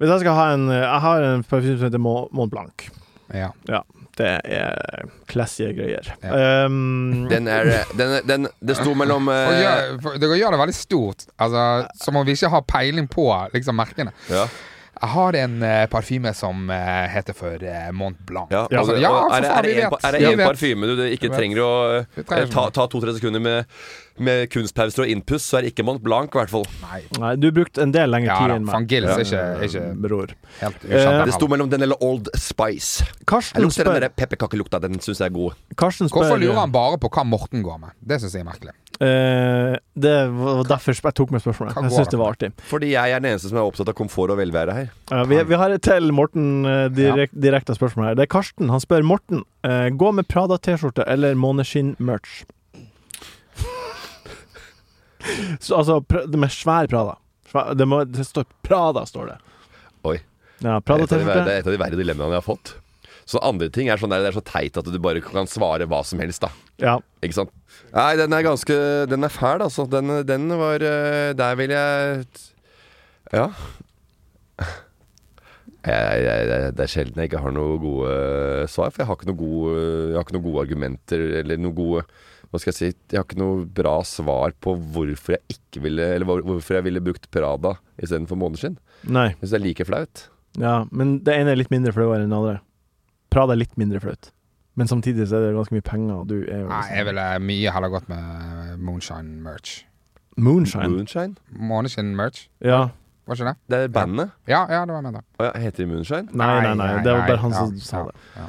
Speaker 2: hvis jeg skal ha en Jeg har en parfyme som heter Mon Mont Blanc.
Speaker 5: Ja.
Speaker 2: Det er classy greier. Um,
Speaker 3: Den er, eh, den, er- den, det sto mellom
Speaker 5: Og
Speaker 3: eh,
Speaker 5: gjør, for- det gjør det veldig stort. Altså, som om vi ikke har peiling på liksom, merkene.
Speaker 3: ja,
Speaker 5: Jeg har en eh, parfyme som eh, heter for eh, Mont Blanc.
Speaker 3: ja,
Speaker 5: Altså,
Speaker 3: og-
Speaker 5: ja,
Speaker 3: og
Speaker 5: for
Speaker 3: er, det-
Speaker 5: faen,
Speaker 3: er
Speaker 5: vi
Speaker 3: det en,
Speaker 5: vet.
Speaker 3: pa- er det
Speaker 5: Vi
Speaker 3: en
Speaker 5: vet.
Speaker 3: parfyme du, du ikke
Speaker 5: vet.
Speaker 3: trenger å
Speaker 5: Vi
Speaker 3: eh,
Speaker 5: trenger
Speaker 3: ta, ta to-tre sekunder med, med kunstpauser og innpust, så er det ikke Mont Blanc, i hvert fall.
Speaker 5: Nei,
Speaker 2: nei, du brukte en del lengre
Speaker 5: ja
Speaker 2: tid
Speaker 5: da.
Speaker 2: enn meg.
Speaker 5: Van Gils er ikke, er ikke
Speaker 2: Bror.
Speaker 5: helt
Speaker 2: Eh,
Speaker 5: ukjent.
Speaker 3: Det sto mellom den eller Old Spice. Jeg
Speaker 2: Karsten
Speaker 3: lukter den
Speaker 2: spør,
Speaker 3: der pepperkakelukta. Den syns jeg er god.
Speaker 2: Karsten spør
Speaker 5: Hvorfor lurer han bare på hva Morten går med? Det syns jeg er merkelig.
Speaker 2: Eh, det var derfor sp- jeg tok med spørsmålet.
Speaker 5: Hva
Speaker 2: Jeg
Speaker 5: går
Speaker 2: syns
Speaker 5: det
Speaker 2: det var artig.
Speaker 3: Fordi jeg er den eneste som er opptatt av komfort og velvære her.
Speaker 2: Ja, vi, vi har et til Morten eh, direk, direkte spørsmål her. Det er Karsten. Han spør Morten eh, gå med Prada-T-skjorte eller måneskinn-merch. Så, altså pr det med svær Prada. Svær, det, må, det står Prada, står det.
Speaker 3: Oi.
Speaker 2: Ja,
Speaker 3: Det er et av de, ver- det
Speaker 2: Prada-T-skjorte.
Speaker 3: er et av de verre dilemmaene jeg har fått. Så andre ting er sånn der, det er så teit at du bare kan svare hva som helst, da.
Speaker 2: Ja.
Speaker 3: Ikke sant? Nei, den er ganske Den er fæl, altså. Den, den var eh, Der vil jeg Ja. Jeg, jeg, jeg, det er sjelden jeg ikke har noen gode svar, for jeg har ikke noen gode, jeg har ikke noen gode argumenter eller noen gode Hva skal jeg si Jeg har ikke noe bra svar på hvorfor jeg ikke ville Eller hvor- hvorfor jeg ville brukt Prada istedenfor Måneskinn.
Speaker 2: Nei.
Speaker 3: Jeg syns det er like flaut.
Speaker 2: Ja, men det ene er litt mindre flau enn det andre. Prada er litt mindre flaut. Men samtidig så er det ganske mye penger, og du er jo
Speaker 5: Nei, jeg ville mye heller gått med Moonshine-merch.
Speaker 2: Moonshine.
Speaker 3: Moonshine?
Speaker 5: Måneskinn-merch,
Speaker 2: Ja.
Speaker 5: var ikke det?
Speaker 3: Det er bandet.
Speaker 5: Ja, ja, det var jeg mente.
Speaker 3: Å ja, heter de Moonshine?
Speaker 2: Nei, nei, nei. Det var bare han som sa det.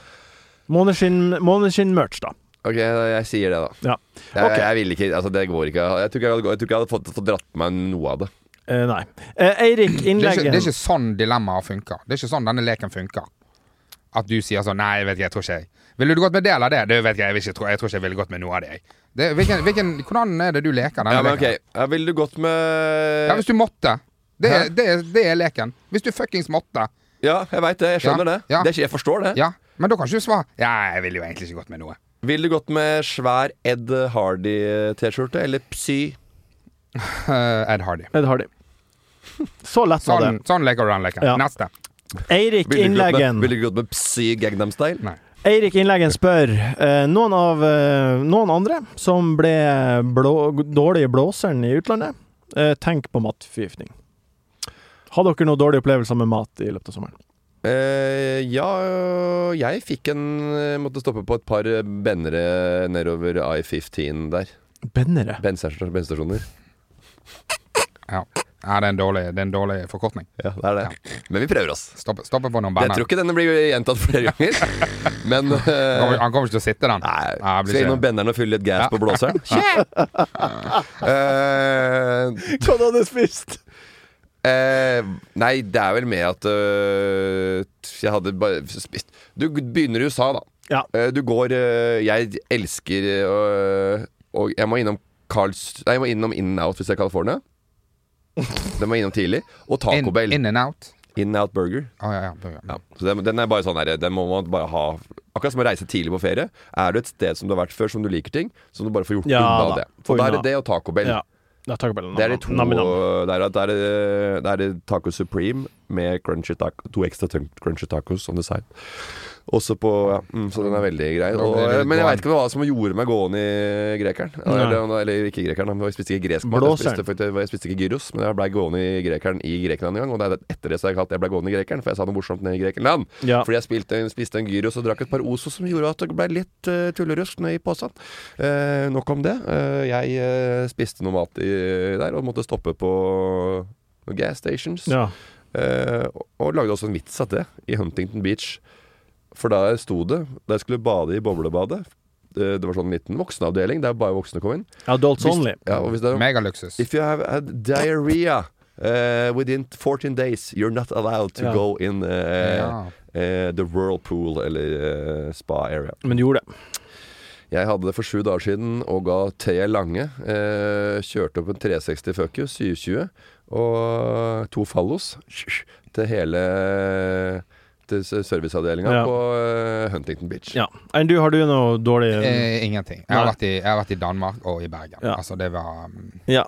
Speaker 2: Måneskinn- Måneskinn-merch, da.
Speaker 3: Ok, jeg sier det, da. Jeg,
Speaker 2: Ok.
Speaker 3: jeg vil ikke Altså, det går ikke. Jeg tror ikke jeg hadde, jeg tror ikke jeg hadde fått, fått dratt med meg noe av det.
Speaker 2: Eh, nei. Eh, Eirik,
Speaker 5: Det er, ikke,
Speaker 2: innleggen
Speaker 5: det er ikke sånn dilemmaer funker. Det er ikke sånn denne leken funker. At du sier sånn Nei, jeg vet ikke, jeg tror ikke jeg Ville du gått med del av det? Det vet jeg, jeg, vil ikke, tro- jeg tror ikke jeg ville gått med noe av det. jeg. det hvilken, hvilken, hvordan er det du leker denne
Speaker 3: Ja, men ok.
Speaker 5: leken?
Speaker 3: Ja, ville du gått med
Speaker 5: Ja, hvis du måtte. Det er,
Speaker 3: Hæ?
Speaker 5: det, er, det er leken. Hvis du fuckings måtte.
Speaker 3: Ja, jeg veit det. Jeg skjønner
Speaker 5: Ja,
Speaker 3: det.
Speaker 5: ja.
Speaker 3: det. er ikke- Jeg forstår det.
Speaker 5: Ja, Men da kan ikke du svare Ja, jeg ville jo egentlig ikke gått med noe.
Speaker 3: Ville du gått med svær Ed Hardy-T-skjorte, eller Psy?
Speaker 5: Ed Hardy.
Speaker 2: Ed Hardy. Så lett var
Speaker 5: Sånn,
Speaker 2: det.
Speaker 5: sånn leker du den leken.
Speaker 2: Ja.
Speaker 5: Neste.
Speaker 2: Eirik
Speaker 3: Ville du gått med-
Speaker 2: Innleggen
Speaker 3: Ville du gått med Psy Gangnam Style?
Speaker 5: Nei.
Speaker 2: Eirik Innleggen spør eh, noen av eh, noen andre som ble blå, dårlige blåseren i utlandet. Eh, tenk på matforgiftning. Har dere noen dårlige opplevelser med mat i løpet av sommeren?
Speaker 3: Eh, ja, jeg fikk en eh, Måtte stoppe på et par eh, bennere nedover I-15 der.
Speaker 2: Bennere?
Speaker 3: Bennstasjoner. bennstasjoner.
Speaker 5: Ja. ja, det er en dårlig, det er en dårlig forkortning.
Speaker 3: Ja, det er det. Men vi prøver oss.
Speaker 5: Stopp, stopp på noen
Speaker 3: Jeg
Speaker 5: banner.
Speaker 3: tror ikke denne blir gjentatt flere ganger. Men
Speaker 5: Han kommer-
Speaker 3: uh,
Speaker 5: Han kommer ikke til å sitte, den. Nei, jeg blir
Speaker 3: skal innom
Speaker 5: ikke-
Speaker 3: benneren og fylle litt gas på blåseren. Eh,
Speaker 2: Hva du hadde spist?
Speaker 3: eh, nei, det er vel med at eh, jeg hadde bare spist Du begynner i USA, da.
Speaker 2: Ja.
Speaker 3: Eh, Du går eh, Jeg elsker eh, Og jeg må innom Carls Nei, jeg må innom In-N-Out hvis det er California. Den må jeg innom tidlig. Og Taco Bell.
Speaker 5: In, in and out.
Speaker 3: In-Out Burger.
Speaker 5: Å, Ah, ja, ja, ja.
Speaker 3: Ja. Så den, den er bare sånn her, den må man bare ha Akkurat som å reise tidlig på ferie. Er du et sted som du har vært før, som du liker ting, så må du bare få gjort
Speaker 2: Ja da,
Speaker 3: unna det.
Speaker 2: få
Speaker 3: Og da er
Speaker 2: unna.
Speaker 3: det det og Taco Bell.
Speaker 2: Ja. Det er Taco Bell.
Speaker 3: Det er de to
Speaker 2: Nam, nam, nam.
Speaker 3: Det er, det er, det er det Taco Supreme med crunchy taco, to ekstra tung- crunchy tacos on the side. Også på ja, mm, Så den er veldig grei.
Speaker 5: Da
Speaker 3: Og,
Speaker 5: blir det litt
Speaker 3: men jeg
Speaker 5: varm.
Speaker 3: veit ikke hva som gjorde meg gående i grekeren.
Speaker 2: Nei.
Speaker 3: Eller, eller ikke grekeren, men jeg spiste ikke gresk mat. Jeg
Speaker 2: Blåseren.
Speaker 3: spiste, faktisk- jeg spiste ikke gyros, men jeg blei gående i grekeren i Grekland en gang. Og det er etter det så har jeg kalt jeg blei gående i grekeren, for jeg sa noe morsomt nede i Grekenland.
Speaker 2: Ja.
Speaker 3: Fordi jeg spilte, spiste en gyros og drakk et par Ozo som gjorde at det ble litt uh, tullerusk ned i posen. Eh, nok om det. Eh, jeg eh, spiste noe mat i, der og måtte stoppe på noen gas stations.
Speaker 2: Ja.
Speaker 3: Eh, og, og lagde også en vits av det i Huntington Beach. For der sto det Da jeg skulle bade i boblebadet eh, Det var sånn liten voksenavdeling der bare voksne kom inn.
Speaker 2: Adults
Speaker 3: Hvis-
Speaker 2: only.
Speaker 3: Ja, og hvis det er
Speaker 5: Megaluksus.
Speaker 3: If you have had diarrhea uh, within 14 days, you're not allowed to
Speaker 2: Ja.
Speaker 3: go in uh,
Speaker 5: Ja.
Speaker 3: uh, the whirlpool eller uh, spa area.
Speaker 2: Men du gjorde det.
Speaker 3: Jeg hadde det for sju dager siden og ga tre lange. eh, kjørte opp en 360 Focus 720 og to Fallos til hele til serviceavdelinga
Speaker 2: Ja.
Speaker 3: på eh, Huntington Beach.
Speaker 2: Ja. Enn du, har du noe dårlig
Speaker 5: Eh, ingenting. Jeg har,
Speaker 2: Nei.
Speaker 5: vært i, jeg har vært i Danmark og i Bergen.
Speaker 2: Ja.
Speaker 5: Altså, det var mm,
Speaker 2: Ja.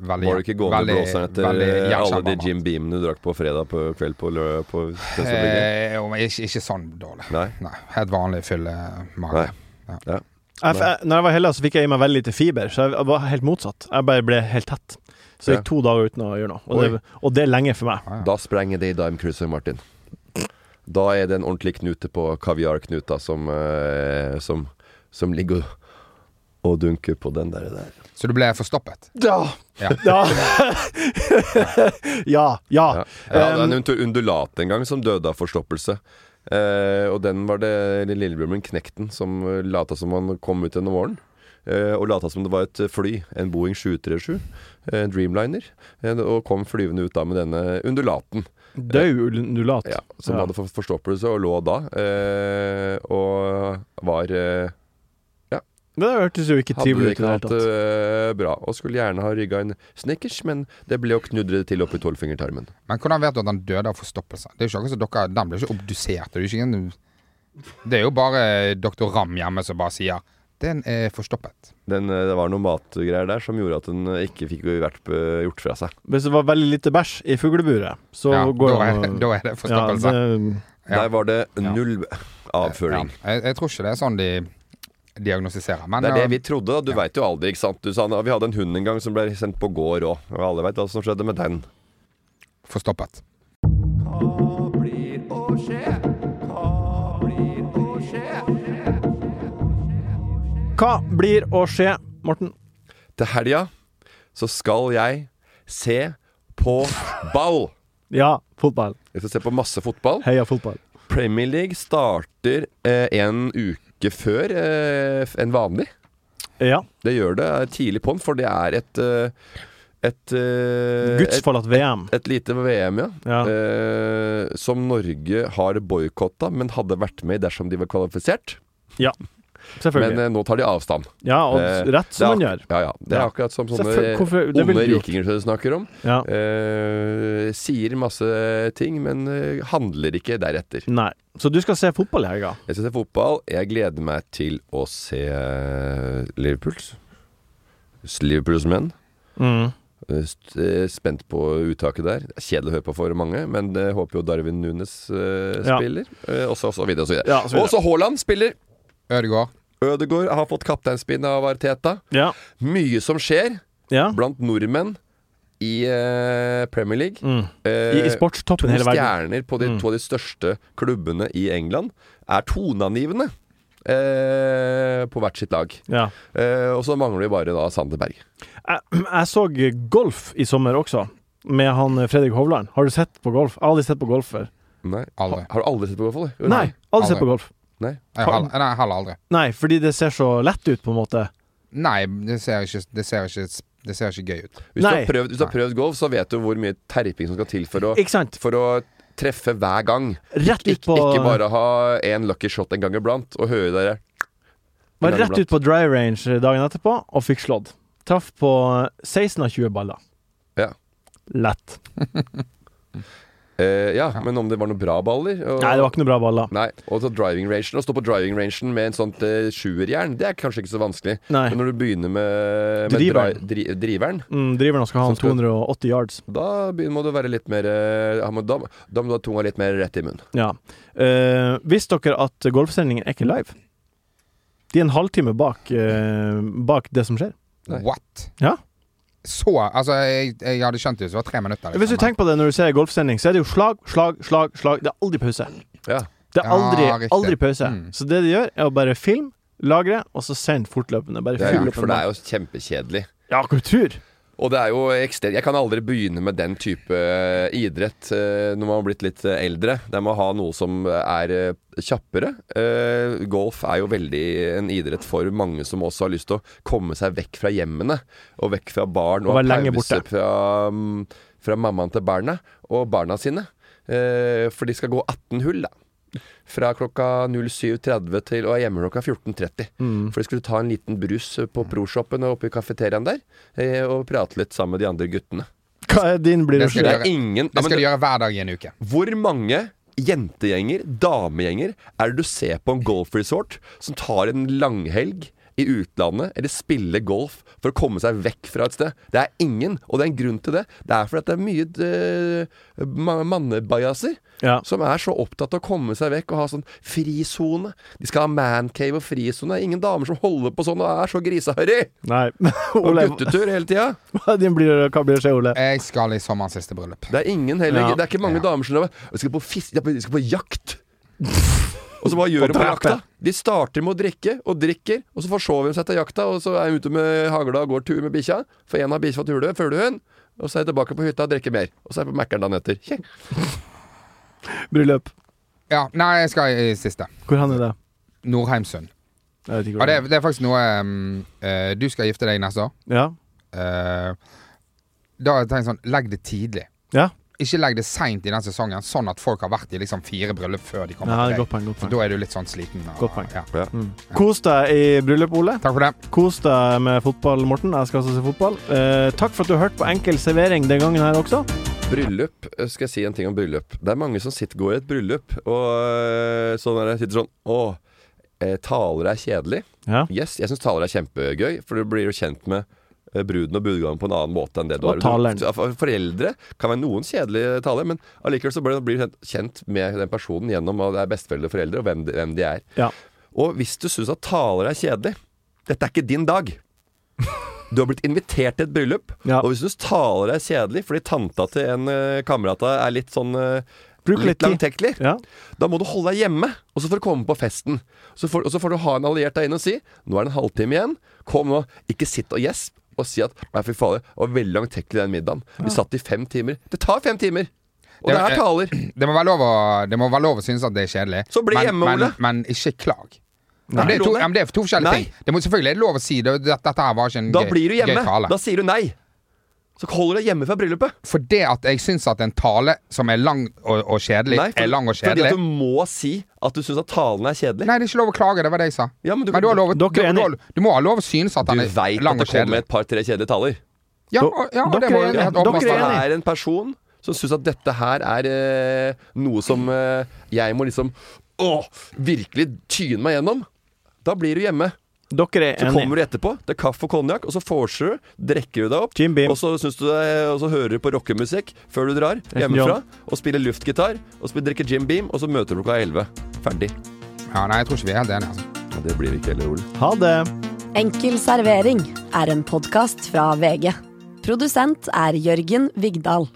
Speaker 5: veldig
Speaker 3: Var du ikke gående
Speaker 5: veldig-
Speaker 3: og blåseren etter eh,
Speaker 5: veldig
Speaker 3: alle de
Speaker 5: gjenkjennbar
Speaker 3: Jim Beamene du drakk på fredag på kveld på, lø- på
Speaker 5: mat.
Speaker 3: Tønsberg?
Speaker 5: Eh, jo, men ikke, ikke sånn dårlig.
Speaker 3: Nei.
Speaker 5: Nei, Helt vanlig fyllemage.
Speaker 3: Nei.
Speaker 2: Jeg, jeg, når jeg var i Hellas, så fikk jeg i meg veldig lite fiber, så jeg var helt motsatt. Jeg bare ble helt tett. Så jeg gikk to dager uten å gjøre noe, og det, og det er lenge for meg.
Speaker 3: Da sprenger det i Dime Cruiser, Martin. Da er det en ordentlig knute på kaviarknuta som, eh, som, som ligger og- og dunker på den der. der.
Speaker 5: Så du ble forstoppet?
Speaker 2: Ja!
Speaker 5: Ja.
Speaker 2: Ja. ja. ja.
Speaker 3: Ja. Ja, det
Speaker 2: Um,
Speaker 3: er en undu- undulat en gang som døde av forstoppelse. Eh, og den var det lille- lillebroren min, Knekten, som eh, lata som han kom ut gjennom våren. Eh, og lata som det var et eh, fly, en Boeing 737, eh, en Dreamliner. Eh, og kom flyvende ut da med denne undulaten.
Speaker 2: Død undulat.
Speaker 3: Ja, som
Speaker 2: Ja.
Speaker 3: hadde fått forstoppelse og lå da. Eh, og var eh,
Speaker 2: Det hørtes jo ikke
Speaker 3: Hadde
Speaker 2: trivelig ut i
Speaker 3: ikke
Speaker 2: det hele
Speaker 3: hatt eh, det
Speaker 2: tatt.
Speaker 3: bra. Og skulle gjerne ha rygga en snickers, men det ble jo knudret til oppi tolvfingertarmen.
Speaker 5: Men hvordan vet du at han døde av forstoppelse? Det er jo ikke akkurat som dere, Den ble ikke obdusert. Det er jo, ikke en, det er jo bare doktor Ramm hjemme som bare sier 'Den er forstoppet'.
Speaker 3: Den, eh, det var noen matgreier der som gjorde at den eh, ikke fikk vært eh, gjort fra seg.
Speaker 2: Hvis det var veldig lite bæsj i fugleburet, så
Speaker 5: Ja,
Speaker 2: går
Speaker 5: da, er,
Speaker 2: å-
Speaker 5: da er det forstoppelse.
Speaker 2: Ja, det-
Speaker 5: Ja.
Speaker 3: Der var det
Speaker 5: Ja.
Speaker 3: null avføring.
Speaker 5: Ja, jeg, jeg tror ikke det er sånn de diagnostiserer. Men
Speaker 3: Det er det
Speaker 5: eh,
Speaker 3: vi trodde. da. Du veit jo aldri, ikke sant. Du sa vi hadde en hund en gang som ble sendt på gård òg. Og alle veit hva som skjedde med den.
Speaker 5: forstoppet.
Speaker 2: Hva blir å skje, Morten?
Speaker 3: Til helga så skal jeg se på ball.
Speaker 2: Ja, fotball.
Speaker 3: Jeg skal se på masse fotball.
Speaker 2: Heia fotball.
Speaker 3: Premier League starter eh, en uke uke før eh, enn vanlig.
Speaker 2: Ja.
Speaker 3: Det gjør det eh, tidlig på'n, for det er et eh, et eh,
Speaker 2: Gudsforlatt VM.
Speaker 3: Et, et lite VM, ja.
Speaker 2: Ja.
Speaker 3: Eh, som Norge har boikotta, men hadde vært med i dersom de var kvalifisert.
Speaker 2: Ja, selvfølgelig.
Speaker 3: Men eh, nå tar de avstand. Eh,
Speaker 2: Ja, og rett som
Speaker 3: det er
Speaker 2: man
Speaker 3: ak-
Speaker 2: gjør.
Speaker 3: Ja, ja. Det er
Speaker 2: Ja.
Speaker 3: akkurat som sånne
Speaker 2: Selvfølgelig- hvorfor- det ville
Speaker 3: onde
Speaker 2: du gjort.
Speaker 3: rikinger som du snakker om.
Speaker 2: Ja.
Speaker 3: Eh, sier masse ting, men eh, handler ikke deretter.
Speaker 2: Nei. Så du skal se fotball i helga?
Speaker 3: Jeg skal se fotball. Jeg gleder meg til å se eh, Liverpools. S- Liverpools menn.
Speaker 2: Mm.
Speaker 3: Eh, st- eh, Spent på uttaket der. Det er Kjedelig å høre på for mange, men eh, håper jo Darwin Nunes eh,
Speaker 2: Ja.
Speaker 3: spiller. Eh, og så og så videre og så videre.
Speaker 2: Ja, så videre.
Speaker 3: Og så Haaland spiller!
Speaker 5: Ødegaard.
Speaker 3: Ødegaard har fått kapteinspinn av Arteta.
Speaker 2: Ja.
Speaker 3: Mye som skjer
Speaker 2: Ja.
Speaker 3: blant nordmenn i eh, Premier League.
Speaker 2: Mm.
Speaker 3: Eh,
Speaker 2: I- i sportstoppen i hele
Speaker 3: To
Speaker 2: verden.
Speaker 3: stjerner på de,
Speaker 2: Mm.
Speaker 3: to av de største klubbene i England er toneangivende eh, på hvert sitt lag.
Speaker 2: Ja.
Speaker 3: Eh, og så mangler vi bare da Sanderberg.
Speaker 2: Jeg, jeg så golf i sommer også, med han Fredrik Hovland. Har du sett på golf? Jeg har aldri sett på golf før.
Speaker 3: Nei.
Speaker 5: Aldri.
Speaker 3: Ha, har du aldri sett på golf? eller? Jo,
Speaker 2: Nei, aldri sett på golf.
Speaker 3: Nei.
Speaker 5: Nei, heller, nei, heller aldri.
Speaker 2: Nei, fordi det ser så lett ut, på en måte.
Speaker 5: Nei, det ser ikke, det ser ikke, det ser ikke gøy ut.
Speaker 3: Hvis, du
Speaker 2: Nei.
Speaker 3: har, prøvd, hvis du har prøvd golf, så vet du hvor mye terping som skal til for å,
Speaker 2: Ikke sant?
Speaker 3: for å treffe hver gang.
Speaker 2: Rett ut
Speaker 3: Ik
Speaker 2: på,
Speaker 3: ikke bare ha én lucky shot en gang iblant, og høre dere
Speaker 2: var rett ut på dry range dagen etterpå og fikk slått. Traff på 16 av 20 baller.
Speaker 3: Ja.
Speaker 2: Lett.
Speaker 3: Eh, ja, men om det var noen bra baller? Og,
Speaker 2: Nei, det var ikke noe bra baller.
Speaker 3: Nei, og så driving rangen Å stå på driving rangen med en sånt eh, sjuerjern, det er kanskje ikke så vanskelig.
Speaker 2: Nei.
Speaker 3: Men når du begynner med, med
Speaker 2: Driveren.
Speaker 3: dri, dri, driveren,
Speaker 2: Mm, driveren skal ha
Speaker 3: Så
Speaker 2: en
Speaker 3: skal-
Speaker 2: 280 yards.
Speaker 3: da begynner, må du være litt mer eh, ja, men da, da må du ha tunga litt mer rett i munnen.
Speaker 2: Ja. Eh, visste dere at golfsendingen er ikke live? De er en halvtime bak, eh, bak det som skjer.
Speaker 3: Nei.
Speaker 5: What?
Speaker 2: Ja.
Speaker 5: Så Altså, jeg, jeg hadde skjønt det hvis det var tre minutter. liksom,
Speaker 2: Hvis du tenker på det når du ser golfsending, så er det jo slag, slag, slag. slag Det er aldri pause.
Speaker 3: Ja.
Speaker 2: Det er aldri,
Speaker 5: Ja, riktig.
Speaker 2: aldri pause.
Speaker 5: Mm.
Speaker 2: Så det de gjør, er å bare film, lagre, og så send fortløpende. Bare
Speaker 3: Det er
Speaker 2: fyll
Speaker 3: gjort,
Speaker 2: opp en
Speaker 3: for det
Speaker 2: ball.
Speaker 3: er jo kjempekjedelig.
Speaker 2: Ja, hva du tror?
Speaker 3: Og det er jo ekstremt Jeg kan aldri begynne med den type eh, idrett eh, når man har blitt litt eh, eldre. Der man har noe som er eh, kjappere. Eh, Golf er jo veldig en idrett for mange som også har lyst til å komme seg vekk fra hjemmene. Og vekk fra barn
Speaker 2: Og
Speaker 3: og,
Speaker 2: være lenge borte.
Speaker 3: fra, mm, fra mammaen til barna og barna sine. Eh, For de skal gå 18 hull, da. Fra klokka 07.30 til og er hjemme klokka 14.30. For de skulle ta en liten brus eh, på proshoppen og oppe i kafeteriaen der. eh, Og prate litt sammen med de andre guttene.
Speaker 2: Hva er din blir
Speaker 5: Det
Speaker 2: det
Speaker 3: Det
Speaker 5: skal de
Speaker 2: skjedd?
Speaker 3: er
Speaker 5: gjøre,
Speaker 3: ingen ja,
Speaker 5: det
Speaker 3: men
Speaker 5: skal
Speaker 3: det-
Speaker 5: de gjøre hver dag i en uke.
Speaker 3: Hvor mange jentegjenger, damegjenger, er det du ser på en golfresort som tar en langhelg i utlandet, eller spiller golf for å komme seg vekk fra et sted? Det er ingen, og det er en grunn til det. Det er fordi at det er mye eh, ma- mannebajaser
Speaker 2: Ja.
Speaker 3: som er så opptatt av å komme seg vekk og ha sånn frisone. De skal ha mancave og frisone. Det er ingen damer som holder på sånn og er så griseharry!
Speaker 2: Nei.
Speaker 3: Og
Speaker 2: Ole,
Speaker 3: guttetur hele tida.
Speaker 2: hva er din blir det, hva blir det skjedd, Ole?
Speaker 5: Jeg skal i sommerens siste bryllup.
Speaker 3: Det er ingen heller.
Speaker 2: Ja.
Speaker 3: Det er ikke mange damer som er, «Jeg skal på fisk, jeg jeg skal på jakt. Og så hva gjør de på
Speaker 2: drepe.
Speaker 3: jakta? De starter med å drikke, og drikker, og så forsover de seg etter jakta, og så er de ute med hagla og går tur med bikkja. For én har bikkja til hule, følger hun. Og så er jeg tilbake på hytta og drikker mer. Og så er jeg på Mækkern dagen etter. Kjeng.
Speaker 2: Bryllup.
Speaker 5: Ja, nei, jeg skal i siste.
Speaker 2: Hvor hen er det?
Speaker 5: Nordheimsund.
Speaker 2: Jeg vet ikke
Speaker 5: Og
Speaker 2: hvor
Speaker 5: det, er- det er faktisk noe um, eh, Du skal gifte deg neste år.
Speaker 2: Ja.
Speaker 5: Eh, da har jeg tenkt sånn Legg det tidlig.
Speaker 2: Ja.
Speaker 5: Ikke legg det seint i den sesongen, sånn at folk har vært i liksom fire bryllup før de
Speaker 2: ja,
Speaker 5: kommer
Speaker 2: det er
Speaker 5: til
Speaker 2: godt poeng. Godt
Speaker 5: deg.
Speaker 2: poeng.
Speaker 5: Da er du litt sånn sliten. og-
Speaker 2: Godt poeng.
Speaker 5: Ja.
Speaker 2: Kos deg i bryllup, Ole.
Speaker 5: Takk for det.
Speaker 2: Kos deg med fotball, Morten. Jeg skal også se fotball. Eh, takk for at du hørte på Enkel servering den gangen her også.
Speaker 3: Bryllup, eh, skal jeg si en ting om bryllup. Det er mange som sitter, går i et bryllup og eh, sånn der, sitter sånn Å, eh, talere er kjedelig.
Speaker 2: Ja.
Speaker 3: Yes, jeg syns talere er kjempegøy, for du blir jo kjent med eh, bruden og brudgommen på en annen måte enn det du
Speaker 2: Og
Speaker 3: er.
Speaker 2: taleren.
Speaker 3: Så, for- Foreldre kan være noen kjedelige talere, men allikevel så blir du- blir du kjent- kjent med den personen gjennom at det er besteforeldre og foreldre, og hvem de, hvem de er.
Speaker 2: Ja.
Speaker 3: Og hvis du syns at talere er kjedelig Dette er ikke din dag. Du har blitt invitert til et bryllup,
Speaker 2: Ja.
Speaker 3: og hvis du syns talere er kjedelig fordi tanta til en eh, kamerat av deg er litt sånn eh,
Speaker 2: Bruk litt
Speaker 3: litt
Speaker 2: tid.
Speaker 3: langtekkelig,
Speaker 2: Ja.
Speaker 3: da må du holde deg hjemme, og så får du komme på festen. Så får, og så får du ha en alliert der inne og si 'Nå er det en halvtime igjen. Kom nå. Ikke sitt og gjesp.' Og si at 'Nei, fy fader, det var veldig langtekkelig den middagen. Vi satt i fem timer.' Det tar fem timer! Og
Speaker 5: Det
Speaker 3: det,
Speaker 5: var-
Speaker 2: eh,
Speaker 3: er taler.
Speaker 5: Det må være lov å, det må være lov å synes at det er kjedelig.
Speaker 3: Så bli
Speaker 5: men,
Speaker 3: hjemme,
Speaker 5: men,
Speaker 3: Ole.
Speaker 5: men ikke klag. Ja, men det, er to, ja, men det er to forskjellige
Speaker 3: Nei.
Speaker 5: ting. Det må selvfølgelig er lov å si. Det, dette, dette her var ikke en
Speaker 3: Da
Speaker 5: gøy,
Speaker 3: blir du
Speaker 5: gøy
Speaker 3: hjemme.
Speaker 5: tale.
Speaker 3: Da sier du nei. Så holder du deg hjemme fra bryllupet.
Speaker 5: For det at jeg syns at en tale som er lang og, og kjedelig,
Speaker 3: for-
Speaker 5: er lang og
Speaker 3: Fordi at
Speaker 5: kjedelig
Speaker 3: du må si at du syns at talen er kjedelig.
Speaker 5: Nei, det er ikke lov å klage. Det var det jeg sa.
Speaker 3: men du,
Speaker 5: Men du, har lov, å- du,
Speaker 3: Dere er
Speaker 5: du, har- du må ha lov å synes at
Speaker 3: Du
Speaker 5: han
Speaker 3: veit
Speaker 5: er
Speaker 3: at
Speaker 5: lang
Speaker 3: det
Speaker 5: og kjedelig.
Speaker 3: kommer et par-tre kjedelige taler.
Speaker 5: Ja, og- ja, og det var jo helt
Speaker 3: Dere
Speaker 5: åpenbart.
Speaker 3: er en person som syns at dette her er eh, noe som eh, jeg må liksom Å, virkelig tyne meg gjennom. Da blir du hjemme.
Speaker 2: Dere
Speaker 3: Så
Speaker 2: enige.
Speaker 3: kommer du etterpå, det er kaffe og konjakk, og så vorser du, drikker du deg opp, og så, syns du det- og så hører du på rockemusikk før du drar hjemmefra, og spiller luftgitar, og så drikker Jim Beam, og så møter du klokka 11. Ferdig.
Speaker 5: Ja, nei, jeg tror ikke vi er helt enige, altså.
Speaker 3: Ja, det blir vi ikke heller, Ole.
Speaker 2: Ha det.
Speaker 1: Enkel servering er en podkast fra VG. Produsent er Jørgen Vigdal.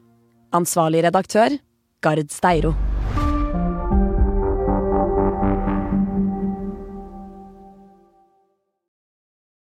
Speaker 1: Ansvarlig redaktør, Gard Steiro.